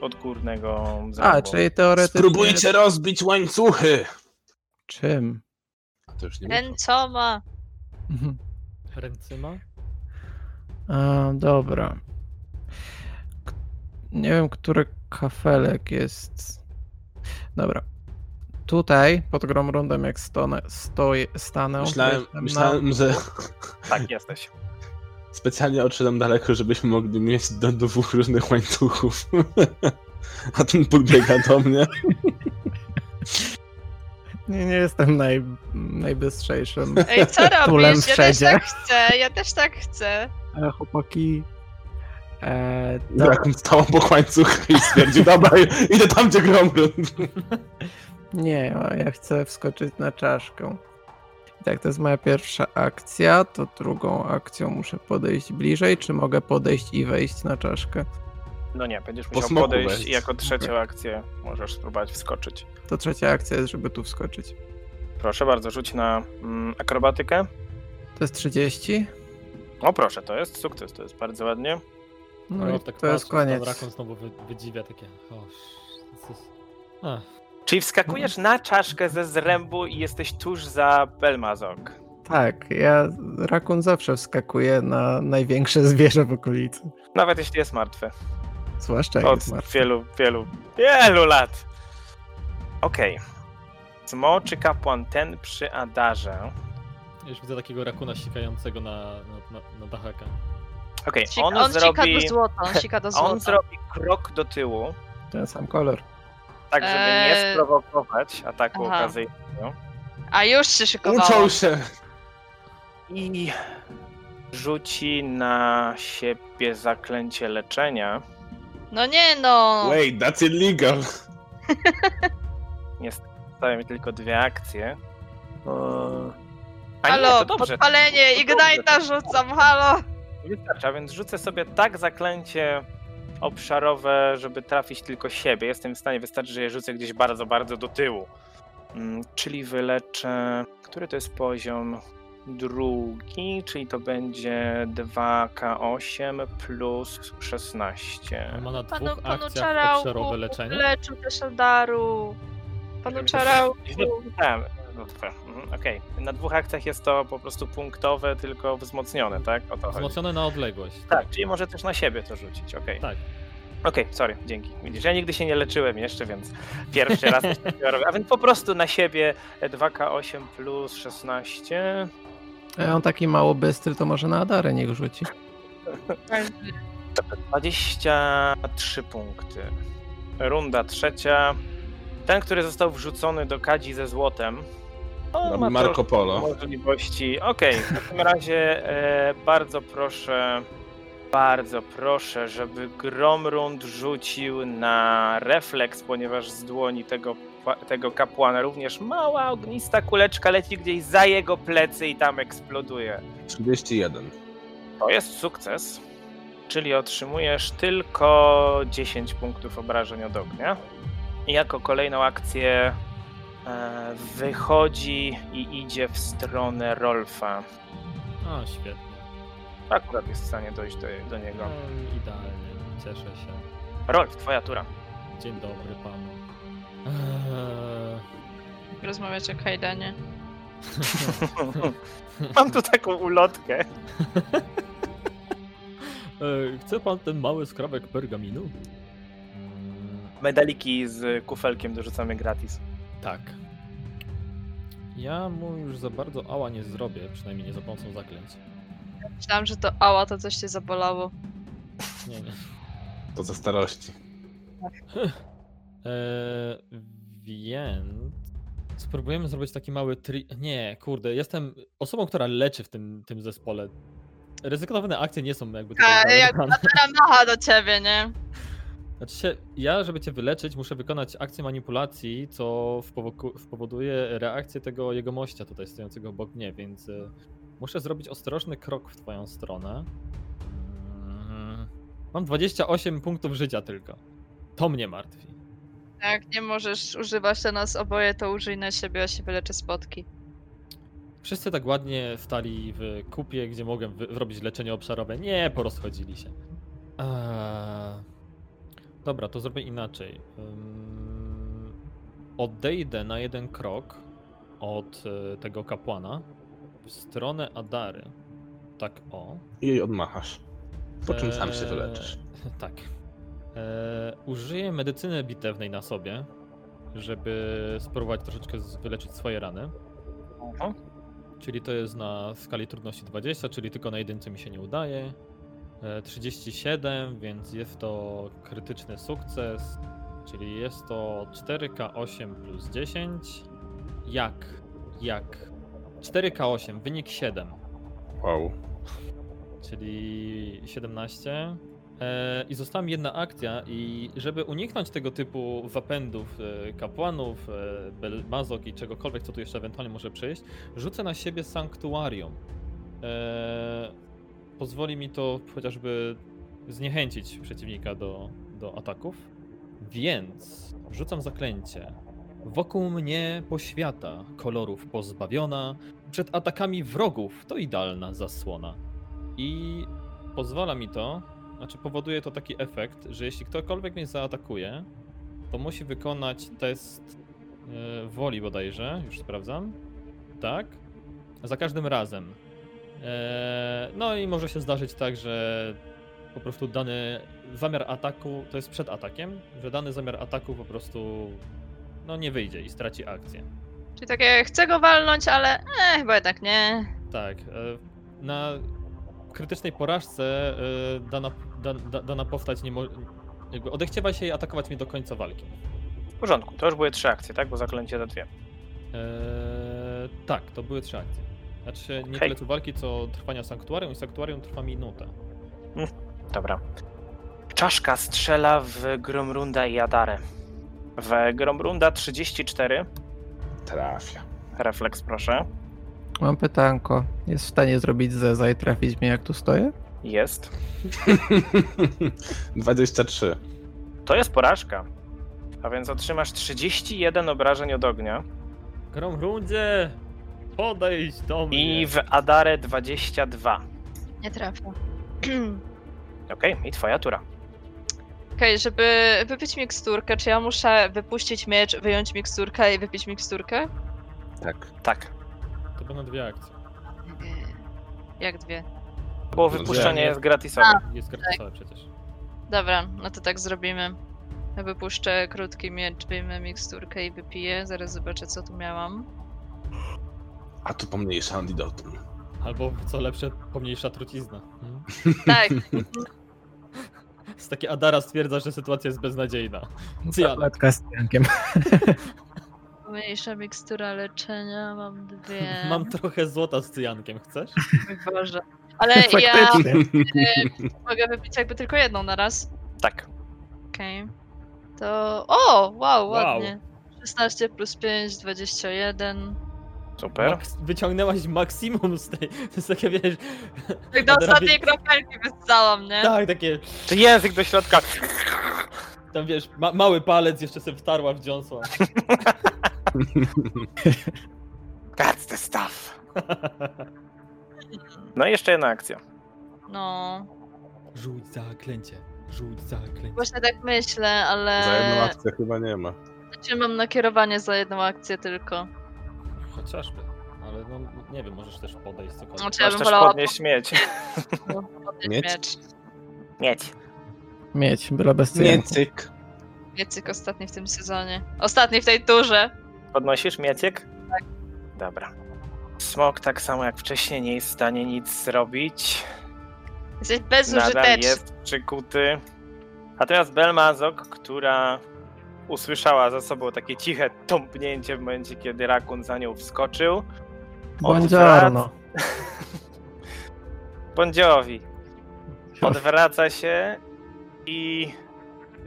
A: od górnego zrębu.
D: A, czyli teoretycznie.
C: Spróbujcie rozbić łańcuchy!
D: Czym?
C: A to już nie mój
B: Ten co ma?
D: Mhm.
E: No Ręcyma?
D: A, dobra. Nie wiem, który kafelek jest. Dobra. Tutaj, pod grom rundem, jak stonę, stoję, stanę.
C: Myślałem,
D: jestem na-
C: myślałem że
A: Tak, jesteś.
C: specjalnie odszedłem daleko, żebyśmy mogli mieć do dwóch różnych łańcuchów. A ten podbiega do mnie.
D: Nie, nie jestem naj, najbystrzejszym.
B: Ej, co
D: Tulem
B: robisz? Ja też
D: wszędzie.
B: tak chcę, ja też tak chcę.
D: E, chłopaki. E, dobra,
C: Drakon stał obok łańcucha i stwierdził, dobra, idę tam, gdzie Gromrund.
D: Nie, a ja chcę wskoczyć na czaszkę. I Tak, to jest moja pierwsza akcja, to drugą akcją muszę podejść bliżej, czy mogę podejść i wejść na czaszkę?
A: No nie, będziesz
C: Po
A: musiał
C: smoku
A: podejść
C: wejdź.
A: i jako trzecią akcję możesz spróbować wskoczyć.
D: To trzecia akcja jest, żeby tu wskoczyć.
A: Proszę bardzo, rzuć na mm, akrobatykę.
D: To jest 30?
A: O proszę, to jest sukces, to jest bardzo ładnie.
D: No i
E: Rolf
D: to jest
E: patrzy,
D: koniec.
E: tak Tam Rakon znowu wy- wydziwia takie. O, sz- sz- Ach,
A: Czyli wskakujesz na czaszkę ze zrębu i jesteś tuż za Belmazok.
D: Tak, ja rakun zawsze wskakuje na największe zwierzę w okolicy.
A: Nawet jeśli jest martwy.
D: Zwłaszcza jak
A: Od
D: Tak jest martwy.
A: wielu, wielu, wielu lat. Okej. Smo czy kapłan ten przy Adarze?
E: ja już widzę takiego rakuna sikającego na, na, na, na dachaka.
A: Okej,
B: Sik-
A: on,
B: on sika
A: zrobi...
B: do złota, on sika do złota.
A: On zrobi krok do tyłu,
D: Ten sam kolor.
A: tak żeby nie
B: Eee.
A: sprowokować ataku
B: Aha.
A: okazyjnego.
B: A już się szykowało.
C: Uczą się.
A: I rzuci na siebie zaklęcie leczenia.
B: No nie no.
C: Wait, that's illegal.
A: Zostały mi tylko dwie akcje. Eee, A nie,
B: Halo,
A: to dobrze.
B: podpalenie,
A: To dobrze.
B: Ignite'a rzucam, halo.
A: Wystarczy, a więc rzucę sobie tak zaklęcie obszarowe, żeby trafić tylko siebie. Jestem w stanie, wystarczy, że je rzucę gdzieś bardzo, bardzo do tyłu. Mm, Czyli wyleczę. Który to jest poziom? Drugi, czyli to będzie 2K8 plus 16.
E: On ma na dwóch
B: Panu, panu
E: akcjach
B: Czarałku,
E: obszarowe leczenie.
B: leczył też Eldaru. Panu Czarałku.
A: Źle pisałem. No to- mhm, Okej, na dwóch akcjach jest to po prostu punktowe, tylko wzmocnione, tak? O to chodzi.
E: Wzmocnione na odległość.
A: Tak, czyli może też na siebie to rzucić, okej.
E: Tak.
A: Okej, sorry, dzięki. Widzisz, ja nigdy się nie leczyłem jeszcze, więc pierwszy raz coś takiego robię. A więc po prostu na siebie 2K8 plus 16.
D: E, on taki mało bystry, to może na Adarę niech rzuci.
A: 23 punkty. Runda trzecia. Ten, który został wrzucony do kadzi ze złotem. On No, ma
C: No, Marco Polo.
A: możliwości. Okej, w takim razie e, bardzo proszę, bardzo proszę, żeby Gromrund rzucił na refleks, ponieważ z dłoni tego, pa- tego kapłana również mała ognista kuleczka leci gdzieś za jego plecy i tam eksploduje.
C: 31.
A: To jest sukces, czyli otrzymujesz tylko 10 punktów obrażeń od ognia. I jako kolejną akcję e, wychodzi i idzie w stronę Rolfa.
E: A, świetnie.
A: Tak, Akurat jest w stanie dojść do, do niego.
E: Mm, idealnie, cieszę się.
A: Rolf, twoja tura.
E: Dzień dobry panu. Eee,
B: Rozmawiać o Kajdanie.
A: Mam tu taką ulotkę.
E: e, Chce pan ten mały skrawek pergaminu? Mm,
A: Medaliki z kufelkiem dorzucamy gratis.
E: Tak. Ja mu już za bardzo ała nie zrobię, przynajmniej nie za pomocą zaklęć.
B: Myślałam, że to ała, to coś cię zabolało.
E: Nie, nie.
C: To ze starości.
E: Eee, więc spróbujemy zrobić taki mały tri... Nie, kurde, jestem osobą, która leczy w tym, tym zespole. Ryzykowne akcje nie są jakby... tutaj
B: A,
E: zaryzykowane.
B: jak Teraz macha do ciebie, nie?
E: Znaczy się, ja, żeby cię wyleczyć, muszę wykonać akcję manipulacji, co wpowoku- wpowoduje reakcję tego jegomościa tutaj stojącego obok mnie, więc y, muszę zrobić ostrożny krok w twoją stronę. Mm, Mam 28 punktów życia tylko. To mnie martwi.
B: Jak nie możesz używać na nas oboje, to użyj na siebie, a się wyleczę spotki.
E: Wszyscy tak ładnie stali w kupie, gdzie mogłem wy- robić leczenie obszarowe. Nie, porozchodzili się. Eee... Dobra, to zrobię inaczej. Ym... Odejdę na jeden krok od e, tego kapłana w stronę Adary. Tak o.
C: I jej odmachasz. Po czym sam się
E: Eee,
C: wyleczysz.
E: Tak. Eee, E, użyję medycyny bitewnej na sobie, żeby spróbować troszeczkę z- wyleczyć swoje rany.
A: Mhm.
E: Czyli to jest na skali trudności 20, czyli tylko na jedynce mi się nie udaje. E, 37, więc jest to krytyczny sukces, czyli jest to 4K8 plus 10. Jak? Jak? 4K8, wynik 7,
C: Wow.
E: czyli 17. E, I została mi jedna akcja i żeby uniknąć tego typu zapędów e, kapłanów, e, belmazok i czegokolwiek, co tu jeszcze ewentualnie może przyjść, rzucę na siebie sanktuarium. E, Pozwoli mi to chociażby zniechęcić przeciwnika do, do ataków. Więc rzucam zaklęcie. Wokół mnie poświata, kolorów pozbawiona, przed atakami wrogów to idealna zasłona. I pozwala mi to, znaczy powoduje to taki efekt, że jeśli ktokolwiek mnie zaatakuje, to musi wykonać test e, woli bodajże, już sprawdzam. Tak. Za każdym razem. E, no i może się zdarzyć tak, że po prostu dany zamiar ataku, to jest przed atakiem, że dany zamiar ataku po prostu no nie wyjdzie i straci akcję.
B: Czyli takie, chcę go walnąć, ale e, chyba jednak nie.
E: Tak. e, Na krytycznej porażce e, dana, da, da, dana postać nie może. Jakby odechciewa się jej atakować mnie do końca walki.
A: W porządku, to już były trzy akcje, tak? Bo zaklęcie za dwie.
E: E, tak, to były trzy akcje. Znaczy nie
A: Okej.
E: tyle tu walki, co trwania sanktuarium i sanktuarium trwa minutę.
A: Dobra. Czaszka strzela w Gromrunda i Adarę. W Gromrunda 34.
C: Trafia.
A: Refleks, proszę.
D: Mam pytanko. Jest w stanie zrobić zeza i trafić mnie jak tu stoję?
A: Jest.
C: 23.
A: To jest porażka. A więc otrzymasz 31 obrażeń od ognia.
E: Grom rundzie! Podejdź do mnie!
A: I w Adarę 22.
B: Nie trafię.
A: Okej, i twoja tura.
B: Okej, żeby wypić miksturkę, czy ja muszę wypuścić miecz, wyjąć miksturkę i wypić miksturkę?
C: Tak.
A: Tak.
E: To będą dwie akcje.
B: Jak dwie.
A: Bo
C: No,
A: wypuszczenie
E: nie.
A: jest gratisowe.
E: Jest gratysowe przecież.
B: Dobra, no to tak zrobimy. Ja Wypuszczę krótki miecz, wyjmę miksturkę i wypiję. Zaraz zobaczę, co tu miałam.
C: A tu pomniejsza antidotum.
E: Albo co lepsze, pomniejsza trucizna. Hmm?
B: Tak,
E: Z takiej Adara stwierdza, że sytuacja jest beznadziejna. Cyjan.
D: Tabletka z ciankiem.
B: mniejsza mikstura leczenia, mam dwie.
E: Mam trochę złota z cyjankiem, chcesz?
B: Mój Boże. Ale ja e,
D: Faktycznie.
B: mogę wypić jakby tylko jedną na raz.
A: Tak.
B: Okej. To. O! Wow, ładnie. 16 plus 5, 21.
A: Super.
E: Maks- wyciągnęłaś maksimum z tej. To jest takie wiesz.
B: Tak do
E: Od razu-
B: ostatniej kropelki wyssałam, nie?
E: Tak, takie.
A: Czy język do środka?
E: Tam wiesz, ma, mały palec jeszcze sobie wtarła w dziąsło.
A: That's the stuff. No i jeszcze jedna akcja.
B: No.
E: Rzuć zaklęcie. Rzuć zaklęcie.
B: Właśnie tak myślę, ale.
C: Za jedną akcję chyba nie ma.
B: Znaczy mam nakierowanie za jedną akcję tylko.
E: Chociażby. Ale no nie wiem, możesz też podejść cokolwiek.
B: Znaczy ja
A: Masz
B: bym
A: też
B: wolała
A: podnieść mieć.
B: po- podnieść
C: Mieć?
B: miecz.
A: Mieć.
D: Mieć, byle bez cyjanku.
C: cyk.
B: Miecyk ostatni w tym sezonie. Ostatni w tej turze.
A: Podnosisz mieciek? Dobra. Smok tak samo jak wcześniej nie jest w stanie nic zrobić.
B: Jesteś
A: Nadal
B: bezużyteczny.
A: jest przykuty. A teraz Belmazok, która usłyszała za sobą takie ciche tąpnięcie w momencie, kiedy rakun za nią wskoczył.
D: Buongiorno.
A: Bądziowi odwraca się i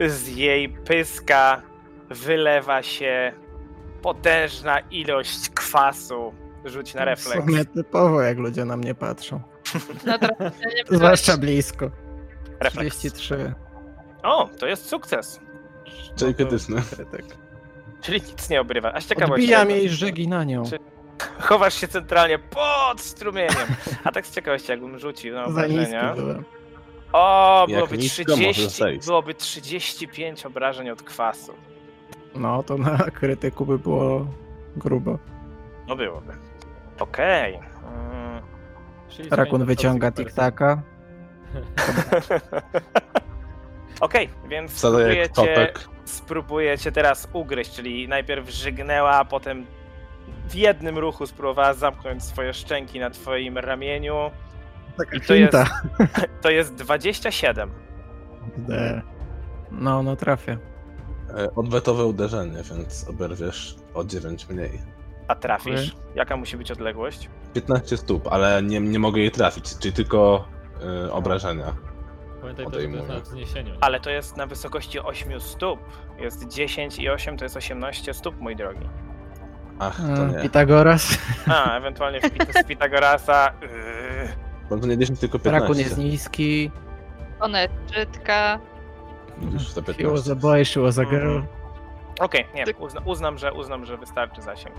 A: z jej pyska wylewa się potężna ilość kwasu. Rzuć na
D: W
A: refleks.
D: sumie typowo, jak ludzie na mnie patrzą.
B: No to nie
D: Zwłaszcza blisko.
A: Refleks.
D: 33.
A: O, to jest sukces. No
C: Czyli krytyczny.
D: Krytyk.
A: Czyli nic nie obrywa. Aż ciekawa
D: Odbijam jej żegi na nią.
A: tak. Czy- Chowasz się centralnie pod strumieniem. A tak z ciekawości, jakbym rzucił na
D: Za niski
A: obrażenia.
D: byłem.
A: O,
C: Jak
A: byłoby
C: nisko możesz
A: 30,
C: zejść.
A: byłoby 35 obrażeń od kwasu.
D: No, to na krytyku by było grubo.
A: No byłoby. Okej. Mm.
E: Czyli
D: Rakun
E: zmieni to
D: wyciąga
E: toxic
D: tiktaka.
A: Okej, więc
C: Wcale jak
A: spróbujecie,
C: topek.
A: spróbujecie teraz ugryźć, czyli najpierw żygnęła, a potem w jednym ruchu spróbowała zamknąć swoje szczęki na twoim ramieniu.
D: Taka
A: I to jest, to jest 27.
D: No, no trafię.
C: E, Odwetowe uderzenie, więc oberwiesz o 9 mniej.
A: A trafisz? Jaka musi być odległość?
C: 15 stóp, ale nie, nie mogę jej trafić, czyli tylko y, obrażenia.
E: Pamiętaj też, że to
C: Odejmuję.
E: jest na wzniesieniu. nie?
A: Ale to jest na wysokości 8 stóp. Jest 10 i 8 to jest 18 stóp, mój drogi.
C: Ach, to nie.
D: Mm, Pitagoras.
A: A, ewentualnie w Pit- z Pitagorasa. Yy.
C: To nie 10, tylko 15.
D: Rakun jest niski.
B: One brzydka.
C: Widzisz, to
D: Siło
C: 15.
D: za boy, siło za girl.
A: Mhm. Okej, nie, uzna, uznam, że, uznam, że wystarczy zasięg.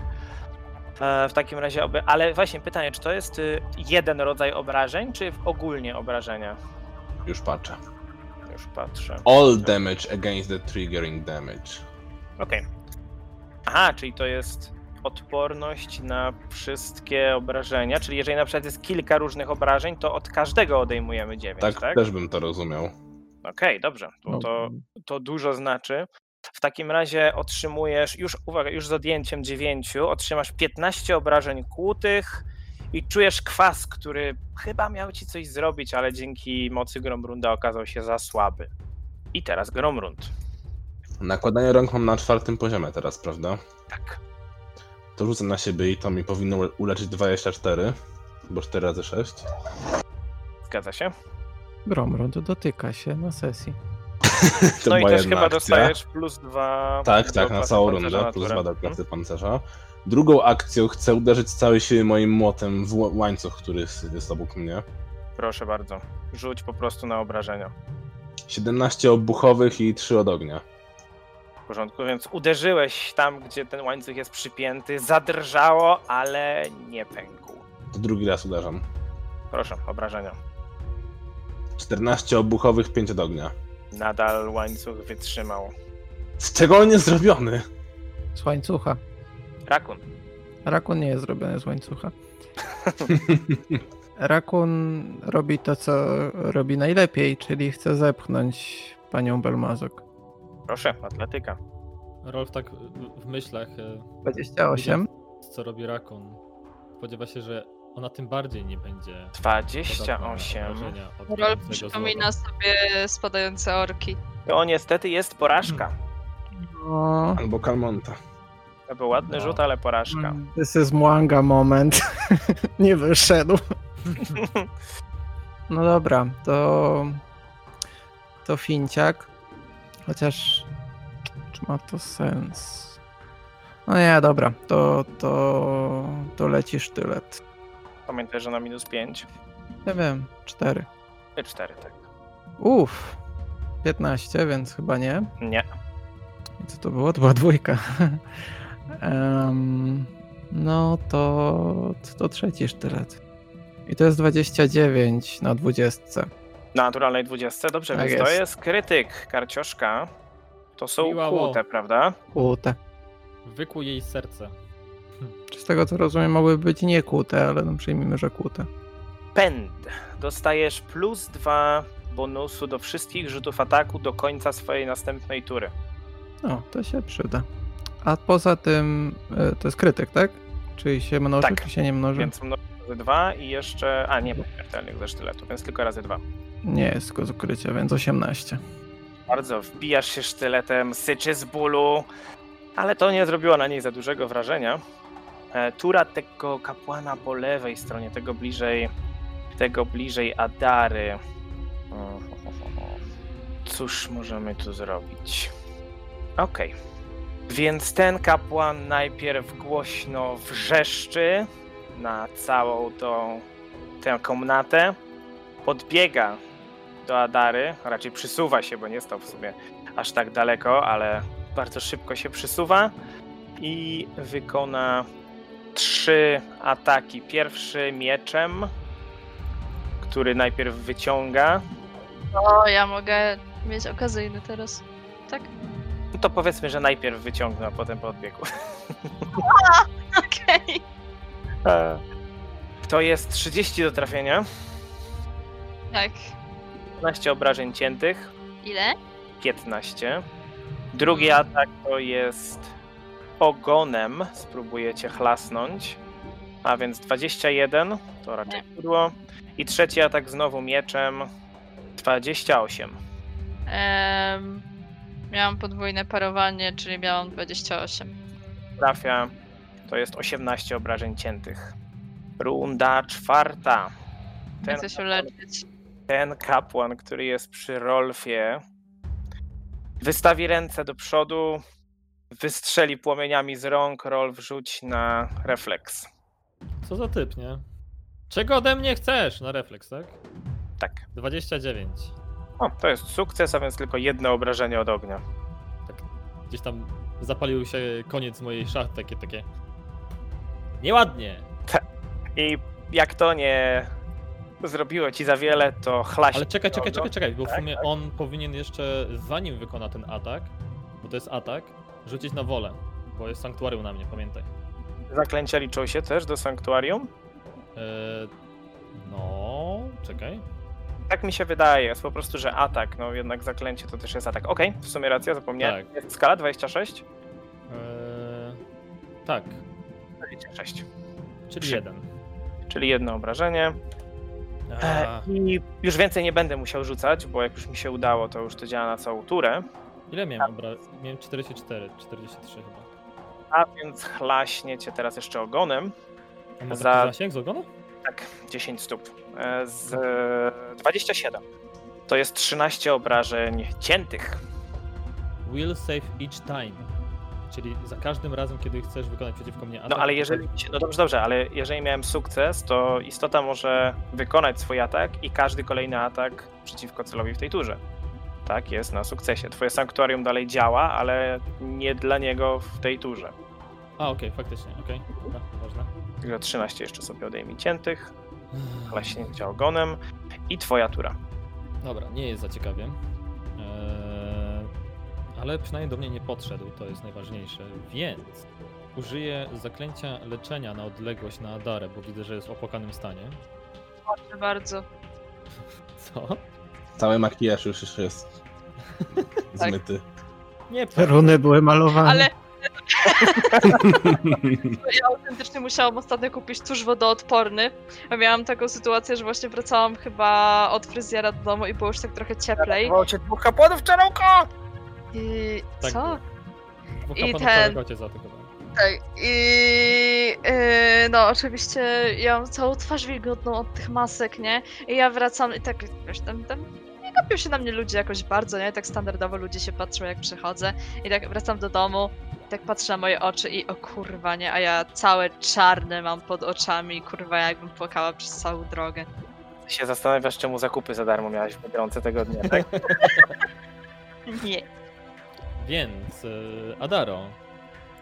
A: E, w takim razie, oby, ale właśnie pytanie, czy to jest y, jeden rodzaj obrażeń, czy w ogólnie obrażenia?
C: Już patrzę.
A: Już patrzę.
C: All damage against the triggering damage.
A: Okej. Aha, czyli to jest odporność na wszystkie obrażenia, czyli jeżeli na przykład jest kilka różnych obrażeń, to od każdego odejmujemy 9, tak?
C: Tak, też bym to rozumiał.
A: Okej, dobrze,
D: No.
A: to, no to, to dużo znaczy. W takim razie otrzymujesz, już uwaga, już z odjęciem 9, otrzymasz 15 obrażeń kłutych i czujesz kwas, który chyba miał ci coś zrobić, ale dzięki mocy Gromrunda okazał się za słaby. I teraz Gromrund.
C: Nakładanie rąk mam na czwartym poziomie teraz, prawda?
A: Tak.
C: To rzucę na siebie i to mi powinno ule- uleczyć 24, bo 4 razy 6.
A: No Zgadza się.
D: Gromrund dotyka się na sesji.
C: To
A: no i
C: była
A: też
C: jedna
A: chyba
C: akcja.
A: dostajesz plus dwa.
C: Tak,
A: do
C: tak, na
A: klasy
C: całą
A: pancerza
C: rundę, plus
A: natura.
C: dwa do
A: Mhm.
C: klasy pancerza. Drugą akcją chcę uderzyć z całej siły moim młotem w ł- łańcuch, który jest- jest obok mnie.
A: Proszę bardzo. Rzuć po prostu na obrażenia.
C: 17 obuchowych i 3 od ognia.
A: W porządku, więc uderzyłeś tam, gdzie ten łańcuch jest przypięty, zadrżało, ale nie pękł.
C: To drugi raz uderzam.
A: Proszę, obrażenia.
C: 14 obuchowych, 5 od ognia.
A: Nadal łańcuch wytrzymał.
C: Z czego on jest zrobiony?
D: Z łańcucha.
A: Rakun.
D: Rakun nie jest zrobiony z łańcucha. Rakun robi to, co robi najlepiej, czyli chce zepchnąć panią Belmazok.
A: Proszę, atletyka.
E: Rolf tak w- w myślach, e,
D: 28.
E: co robi Rakun, spodziewa się, że ona tym bardziej nie będzie podatna na
A: 28.
E: obrażenia od
B: Rol
E: tego
B: przypomina sobie spadające orki.
A: To niestety jest porażka.
D: No,
C: Albo Kalmonta.
A: To był ładny
E: No.
A: rzut, ale porażka.
D: this is Mwanga moment. nie wyszedł. No dobra, to. To finciak. Chociaż. Czy ma to sens? No nie, dobra, to. To, to leci sztylet.
A: Pamiętaj, że na minus 5.
D: Nie wiem, 4.
A: 4, tak.
D: Uff. 15, więc chyba nie.
A: Nie.
D: I co to było? To była dwójka. Em, no to, to trzeci sztylet. I to jest 29 na 20.
A: Na naturalnej 20. Dobrze,
D: Tak
A: więc to
D: jest.
A: jest krytyk, karcioszka. To są
E: Miła, wo.
A: kłute, prawda?
D: Kłute.
E: Wykuł jej serce.
D: Czy z tego co rozumiem mogły być nie kłute, ale no przyjmijmy, że kłute.
A: Pęd. Dostajesz plus 2 bonusu do wszystkich rzutów ataku do końca swojej następnej tury.
D: No, to się przyda. A poza tym y, to jest krytyk, tak? Czyli się mnoży,
A: Tak.
D: czy się nie mnoży?
A: Więc mnożę razy 2 i jeszcze... A, nie, bo śmiertelnych ze sztyletu, więc tylko razy 2.
D: Nie jest tylko z ukrycia, więc 18.
A: Bardzo wbijasz się sztyletem, syczy z bólu, ale to nie zrobiło na niej za dużego wrażenia. E, Tura tego kapłana po lewej stronie, tego bliżej, tego bliżej Adary. O, o, o, o. Cóż możemy tu zrobić? Okej. Więc ten kapłan najpierw głośno wrzeszczy na całą tą, tę komnatę. Podbiega do Adary, a raczej przysuwa się, bo nie stał w sumie aż tak daleko, ale bardzo szybko się przysuwa i wykona trzy ataki. Pierwszy mieczem, który najpierw wyciąga.
B: O, ja mogę mieć okazyjny teraz. Tak?
A: No to powiedzmy, że najpierw wyciągnął, a potem podbiegł.
B: Okej.
A: To jest 30 do trafienia,
B: Tak.
A: 15 obrażeń ciętych,
B: Ile?
A: 15. Drugi atak to jest ogonem. Spróbujecie chlasnąć. A więc 21 to raczej pudło. I trzeci atak znowu mieczem. 28.
B: Em, miałam podwójne parowanie, czyli miałam 28.
A: Trafia. To jest 18 obrażeń ciętych. Runda czwarta. Ten
B: Chcę się leczyć.
A: ten kapłan, który jest przy Rolfie, wystawi ręce do przodu, wystrzeli płomieniami z rąk, Rolf rzuć na refleks.
E: Co za typ, nie? Czego ode mnie chcesz? Na refleks, tak?
A: Tak.
E: 29.
A: O, to jest sukces, a więc tylko jedno obrażenie od ognia.
E: Gdzieś tam zapalił się koniec mojej szachty, takie, takie... Nieładnie!
A: I jak to nie zrobiło ci za wiele, to chlaś.
E: Ale czekaj, czekaj,
A: do-
E: czekaj, czekaj, bo w
A: Tak,
E: sumie on powinien jeszcze, zanim wykona ten atak, bo to jest atak, rzucić na wolę, bo jest sanktuarium na mnie, pamiętaj.
A: Zaklęcia liczą się też do sanktuarium?
E: Eee, no, czekaj.
A: Tak mi się wydaje, jest po prostu, że atak, no jednak zaklęcie to też jest atak. Okej, w sumie racja, zapomniałem.
E: Tak.
A: Jest skala 26?
E: Eee, tak,
A: 26.
E: czyli
A: Trzy.
E: jeden.
A: Czyli jedno obrażenie. E,
E: Eee,
A: I już więcej nie będę musiał rzucać, bo jak już mi się udało, to już to działa na całą turę.
E: ile miałem? Dobra, miałem 44, 43 chyba.
A: A więc chlaśnie cię teraz jeszcze ogonem.
E: A ma
A: Za-
E: taki zasięg z ogonu?
A: Tak, 10 stóp. E, Z e, 27. To jest 13 obrażeń ciętych.
E: Will save each time. Czyli za każdym razem, kiedy chcesz wykonać przeciwko mnie
A: No
E: atak.
A: ale jeżeli. No dobrze, dobrze, ale jeżeli miałem sukces, to istota może wykonać swój atak i każdy kolejny atak przeciwko celowi w tej turze. Tak, jest na sukcesie. Twoje sanktuarium dalej działa, ale nie dla niego w tej turze.
E: A, okej, faktycznie, okej, dobra, ważne.
A: Tylko 13 jeszcze sobie odejmij ciętych. klaśnięcia ogonem i twoja tura.
E: Dobra, nie jest za ciekawie. Eee, ale przynajmniej do mnie nie podszedł, to jest najważniejsze. Więc użyję zaklęcia leczenia na odległość na Adarę, bo widzę, że jest w opłakanym stanie.
B: Proszę bardzo.
E: Co?
C: Cały makijaż już już jest
B: Tak.
C: zmyty.
E: Nie, tak-
D: Te runy były malowane.
B: Ale ja autentycznie musiałam ostatnio kupić tusz wodoodporny. A miałam taką sytuację, że właśnie wracałam chyba od fryzjera do domu i było już tak trochę cieplej.
A: cię dwóch kapłanów czarąka!
B: I...
E: Tak
B: Co?
E: bo
B: I
E: kapłan
B: ten-
E: całego cię za to chyba.
B: Tak, i e, no oczywiście ja mam całą twarz wilgotną od tych masek, nie? I ja wracam i tak, wiesz, tam, tam nie gapią się na mnie ludzie jakoś bardzo, nie? Tak standardowo ludzie się patrzą jak przychodzę i tak wracam do domu, i tak patrzę na moje oczy i o kurwa, nie? A ja całe czarne mam pod oczami, kurwa, jakbym płakała przez całą drogę.
A: Się zastanawiasz, czemu zakupy za darmo miałaś w Biedronce tego dnia, tak?
B: Nie.
E: Więc, eee, Adaro,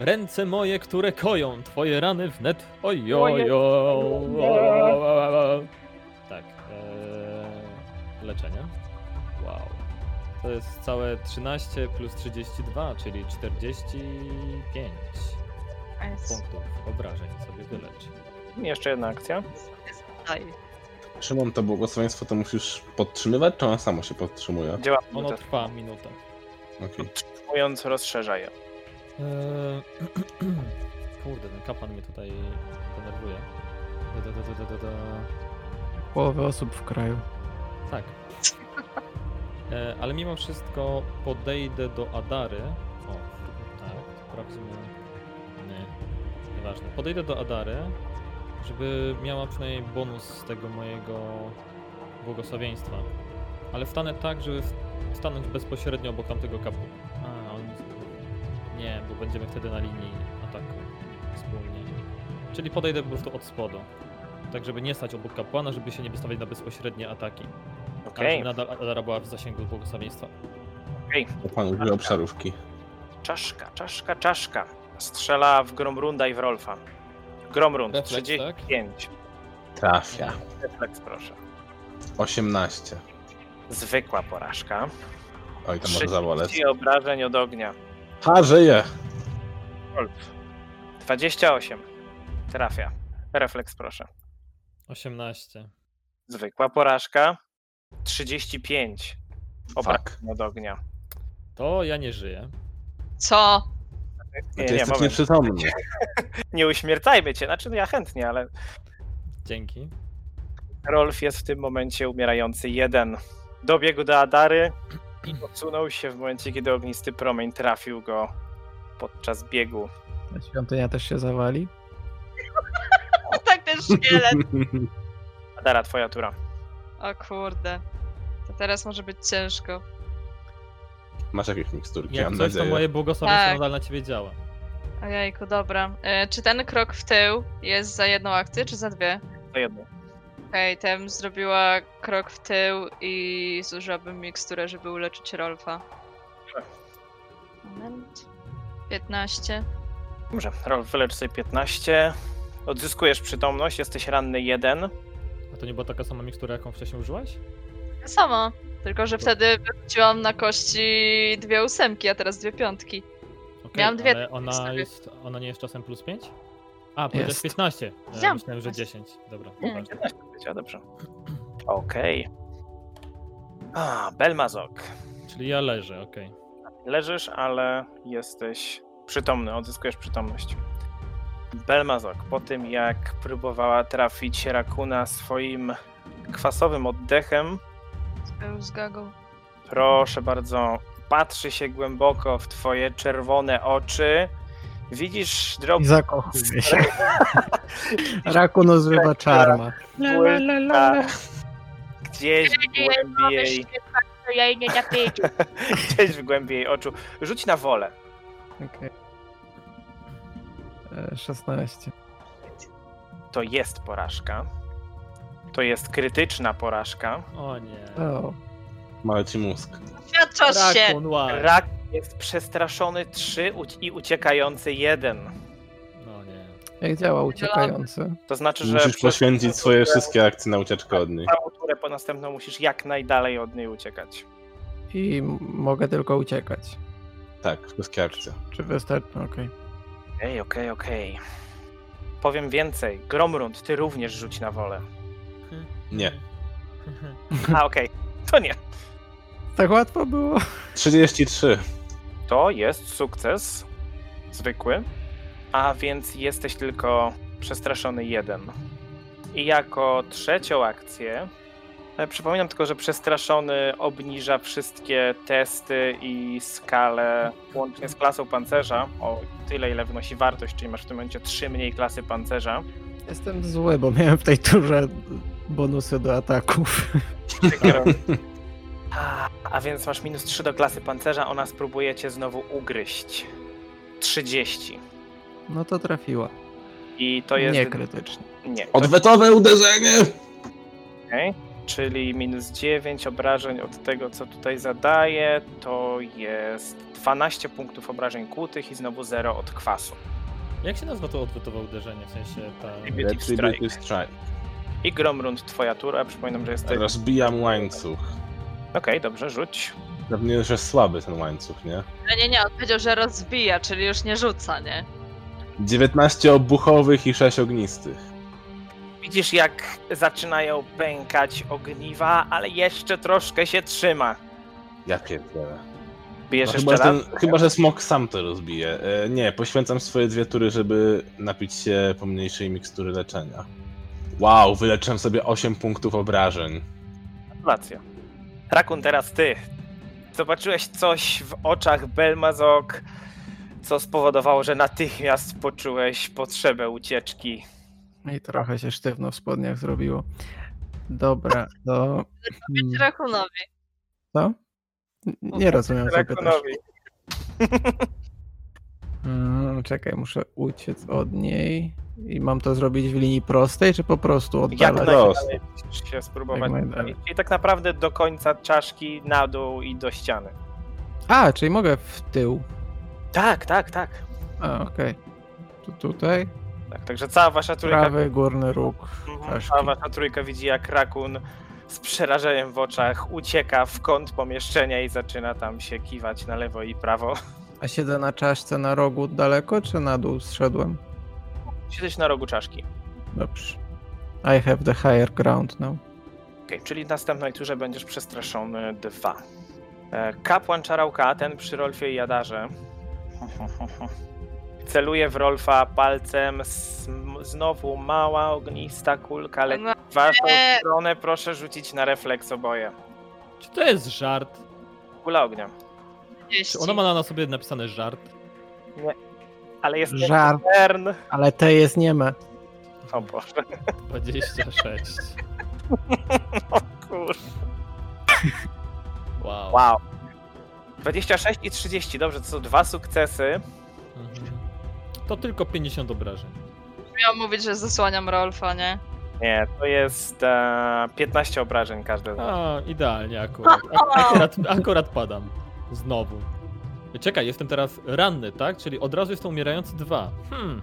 E: ręce moje, które koją, twoje rany wnet,
A: Moje-
E: ojojo. Tak, eee, leczenie. Wow. To jest całe 13 plus 32, czyli 45
B: A jest-
E: punktów obrażeń sobie wyleczy.
A: I Jeszcze jedna akcja.
C: Tak.
B: jest- daj.
C: Szymon, to błogosławieństwo to musisz podtrzymywać, czy ono samo się podtrzymuje?
A: Działa
E: Ono trwa minutę.
C: Okej.
A: Mówiąc, rozszerza je.
E: Eee, Kurde, ten kapan mnie tutaj denerwuje. Da, da, da, da, da, da.
D: Połowy osób w kraju.
E: Tak. E, ale mimo wszystko podejdę do Adary. O, tak, sprawdźmy. Nie, nieważne. Podejdę do Adary, żeby miała przynajmniej bonus z tego mojego błogosławieństwa. Ale wstanę tak, żeby w- stanąć bezpośrednio obok tamtego kapu. A, on nic nie mówi. Nie, bo będziemy wtedy na linii ataku wspólnie. Czyli podejdę po prostu od spodu. Tak, żeby nie stać obok kapłana, żeby się nie wystawiać na bezpośrednie ataki. Ale
A: Okej,
E: żeby nadal Adara była w zasięgu błogosławieństwa.
C: Pan użył obszarówki.
A: czaszka, czaszka, czaszka. Strzela w Gromrunda i w Rolfa. Gromrund,
E: Refleks,
A: 35.
C: Trafia.
A: Refleks, proszę.
C: 18.
A: Zwykła porażka.
C: Oj, to może zawolec.
A: 30 obrażeń od ognia.
C: Ha, żyje!
A: Rolf. 28. Trafia. Refleks, proszę.
E: 18.
A: Zwykła porażka. 35.
C: Fuck.
A: Obrażeń od ognia.
E: To ja nie żyję.
B: Co?
A: Nie,
C: Znaczy,
A: nie,
C: jesteś
A: moment.
C: nieprzytomny.
A: nie uśmiercajmy cię. Znaczy, no ja chętnie, ale
E: Dzięki.
A: Rolf jest w tym momencie umierający jeden. Dobiegł do Adary i odsunął się w momencie, kiedy ognisty promień trafił go podczas biegu.
D: Ta świątynia też się zawali.
B: Tak ten szkielet.
A: Adara, twoja tura.
B: O kurde. To teraz może być ciężko.
C: Masz jakieś miksturki,
E: Jak
C: mam
E: coś, to
C: nadzieję.
E: moje błogosławieństwo
B: Tak.
E: nadal na ciebie działa.
B: Ojejku, dobra. E, czy ten krok w tył jest za jedną akcję, czy za dwie?
A: To jedno.
B: Okej, okay, tem zrobiła krok w tył i zużyłabym miksturę, żeby uleczyć Rolfa. Moment. 15.
A: Dobrze, Rolf, wylecz sobie 15. Odzyskujesz przytomność, jesteś ranny jeden.
E: A to nie była taka sama mikstura, jaką wcześniej użyłaś?
B: Ja Sama. Tylko, że wtedy wyrzuciłam na kości dwie ósemki, a teraz dwie piątki.
E: Okej,
B: Miałam dwie
E: Ale ona,
B: sobie.
E: jest, ona nie jest czasem plus 5? A, powiedziałeś
D: Jest.
E: 15. E,
B: Wziąłam
E: Myślałem, że
B: 15.
E: 10. Dobra,
A: Nie,
E: nieważne.
A: 11 powiedziała, dobrze. Okej. A, Belmazok.
E: Czyli ja leżę, okej.
A: Leżysz, ale jesteś przytomny, odzyskujesz przytomność. Belmazok, po tym jak próbowała trafić Rakuna swoim kwasowym oddechem,
B: Był Z gagą.
A: proszę bardzo, patrzy się głęboko w twoje czerwone oczy. Widzisz
D: I
A: drobny
D: zakochuje się. Rakun używa czarma.
A: błyska gdzieś w
B: Ja jej
A: głębi jej,
B: Ja jej nie napiję.
A: gdzieś w głębi jej oczu. Rzuć na wolę.
D: Okej. E, 16.
A: To jest porażka. To jest krytyczna porażka.
E: O nie.
D: O,
C: Mały ci mózg.
B: Świadczasz się!
E: Rakun,
C: Tak.
E: łaj.
A: Rak jest przestraszony 3 i uciekający 1.
E: No nie.
D: jak działa uciekający?
A: To znaczy, że
C: Musisz
A: przez
C: poświęcić swoje wszystkie akcje na ucieczkę od niej.
A: całą turę po następną musisz jak najdalej od niej uciekać.
D: I m- mogę tylko uciekać.
C: Tak, wszystkie akcje.
D: Czy wystarczy? Okej.
A: Okej, okej, okej. Powiem więcej. Gromrund, ty również rzuć na wolę.
C: Nie.
A: A, okej. To nie.
D: Tak łatwo było.
C: 33.
A: To jest sukces. Zwykły. A więc jesteś tylko przestraszony jeden. I jako trzecią akcję. e, Przypominam tylko, że przestraszony obniża wszystkie testy i skale łącznie z klasą pancerza o tyle, ile wynosi wartość, czyli masz w tym momencie trzy mniej klasy pancerza.
D: Jestem zły, bo miałem w tej turze bonusy do ataków.
A: A, a więc masz minus 3 do klasy pancerza, ona spróbuje cię znowu ugryźć. 30.
D: No to trafiła.
A: I to jest.
D: Nie krytycznie.
A: nie to
C: Odwetowe uderzenie!
A: Okej, Czyli minus 9 obrażeń od tego, co tutaj zadaję, to jest 12 punktów obrażeń kłutych i znowu 0 od kwasu.
E: Jak się nazywa to odwetowe uderzenie? W sensie ta...
A: Retributive Strike.
C: Retributive Strike.
A: I Gromrund, twoja tura. Przypominam, że jesteś. Okej,
C: Rozbijam łańcuch.
A: dobrze, rzuć.
C: Pewnie, że słaby ten łańcuch, nie?
B: Nie, nie, nie, on powiedział, że rozbija, czyli już nie rzuca, nie?
C: 19 obuchowych i 6 ognistych.
A: Widzisz, jak zaczynają pękać ogniwa, ale jeszcze troszkę się trzyma.
C: Ja pierdolę.
A: Bijesz
C: No,
A: jeszcze
C: chyba,
A: raz?
C: że ten, chyba, że smok sam to rozbije. E, nie, poświęcam swoje dwie tury, żeby napić się pomniejszej mikstury leczenia. Wow, wyleczyłem sobie 8 punktów obrażeń.
A: Gratulacje. Rakun, teraz ty. Zobaczyłeś coś w oczach Belmazok, co spowodowało, że natychmiast poczułeś potrzebę ucieczki.
D: I trochę się sztywno w spodniach zrobiło. Dobra, to...
E: Hmm.
B: Być Rakunowi.
D: Co? N- Nie rozumiem, co pytasz.
A: Rakunowi.
D: Mm, Czekaj, muszę uciec od niej. I mam to zrobić w linii prostej, czy po prostu
A: Jak
D: oddalać?
A: najdalej musisz się spróbować.
D: Jak najdalej.
A: I tak naprawdę do końca czaszki, na dół i do ściany.
D: A, czyli mogę w tył.
A: Tak, tak, tak.
D: A, okej. Tu, tutaj.
A: tak także cała wasza trójka,
D: Prawy górny róg.
A: tak. Mhm,
D: czaszki.
A: cała wasza trójka widzi, jak Rakun z przerażeniem w oczach ucieka w kąt pomieszczenia i zaczyna tam się kiwać na lewo i prawo.
D: A siedzę na czaszce na rogu daleko, czy na dół zszedłem?
A: Siedzieć na rogu czaszki.
D: Dobrze. I have the higher ground now.
A: Okej, czyli w następnej turze będziesz przestraszony dwa. E, Kapłan Czarałka, ten przy Rolfie i Jadarze, celuje w Rolfa palcem. sm- Znowu mała, ognista kulka, leci
B: No
A: w waszą
B: nie.
A: stronę. Proszę rzucić na refleks oboje.
E: Czy to jest żart?
A: Kula ognia.
B: 40.
E: Czy ona ma na sobie napisane żart?
A: Ale jest
D: Żart.
A: Tern.
D: Ale te jest nieme.
A: O Boże,
E: 26.
A: kur...
E: Wow.
A: Wow. 26 i 30, dobrze, to są dwa sukcesy.
E: Mhm. To tylko 50 obrażeń.
B: Miałam mówić, że zasłaniam Rolfa, nie?
A: Nie, to jest e, 15 obrażeń każde. z was.
E: A, idealnie akurat. Ak- akurat. Akurat padam. Znowu. Czekaj, jestem teraz ranny, tak? Czyli od razu jestem umierający dwa. Hmm,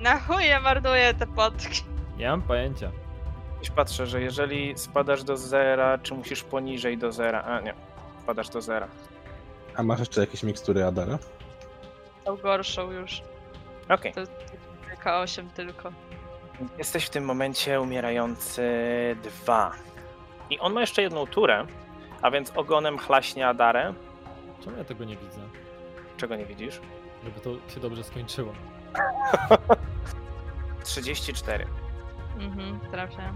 B: Na chuje marnuję te potki.
E: nie mam pojęcia.
A: Gdzieś Patrzę, że jeżeli spadasz do zera, czy musisz poniżej do zera? A nie, spadasz do zera.
C: A masz jeszcze jakieś mikstury Adara?
B: Tą gorszą już.
A: Okej.
B: K8 tylko.
A: Jesteś w tym momencie umierający dwa. I on ma jeszcze jedną turę, a więc ogonem chlaśnie Adarę.
E: Czemu ja tego nie widzę?
A: Czego nie widzisz?
E: Żeby to się dobrze skończyło.
A: 34.
B: Mhm, trafiam.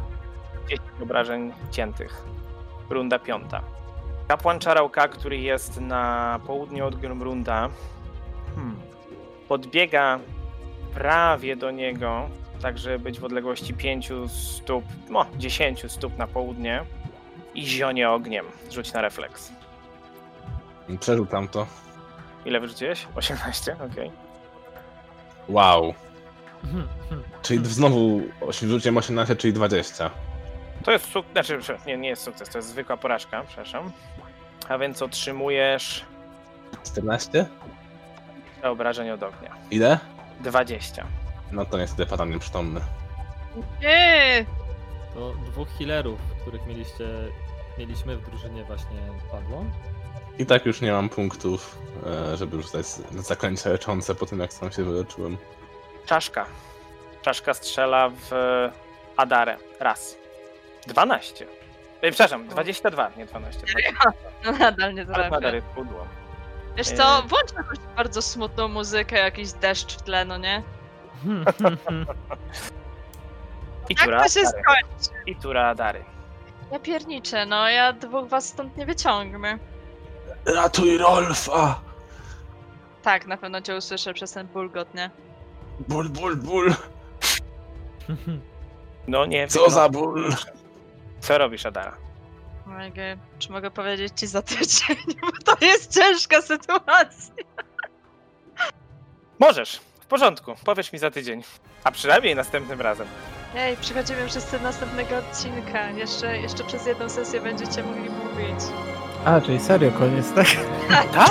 A: 10 obrażeń ciętych. Runda piąta. Kapłan Czarałka, który jest na południu od Grumrunda, hmm, podbiega prawie do niego, tak żeby być w odległości 5 stóp, no 10 stóp na południe i zionie ogniem. Rzuć na refleks.
C: Przerzucam to.
A: Ile wyrzuciłeś? 18? Okej.
C: Wow.
E: Hmm, hmm.
C: Czyli znowu osi- rzuciem 18, czyli 20.
A: To jest sukces, znaczy prze- nie, nie jest sukces, to jest zwykła porażka, przepraszam. A więc otrzymujesz
C: 14?
A: obrażeń od ognia.
C: Ile?
A: 20.
C: No to niestety padam nieprzytomny.
B: Eee!
E: To dwóch healerów, których mieliście, mieliśmy w drużynie właśnie padło.
C: I tak już nie mam punktów, e, żeby rzucać zaklęcia leczące po tym, jak sam się wyleczyłem.
A: Czaszka. Czaszka strzela w Adarę. Raz. 12. Ej, przepraszam, 22, nie 12.
B: No nadal nie
A: Ale Adar
B: trafia.
A: jest pudło.
B: Wiesz co,
A: Eee.
B: włącz jakąś bardzo smutną muzykę, jakiś deszcz w tle, no nie?
E: Hmm,
A: I
B: Tak
A: tura
B: to się
A: Adary.
B: skończy.
A: I tura Adary.
B: Ja pierniczę, no ja dwóch was stąd nie wyciągnę.
C: Ratuj Rolfa!
B: Tak, na pewno cię usłyszę przez ten bulgot, nie?
C: Ból, ból, ból!
E: hmm.
A: No nie wiem,
C: Co
A: no.
C: za ból!
A: Co robisz, Adara?
B: Ojej, Czy mogę powiedzieć ci za tydzień? Bo to jest ciężka sytuacja.
A: Możesz, w porządku, powiesz mi za tydzień. A przynajmniej następnym razem.
B: Ej, przychodzimy wszyscy do następnego odcinka. Jeszcze, jeszcze przez jedną sesję będziecie mogli mówić.
D: A, czyli serio koniec, tak?
A: Tak!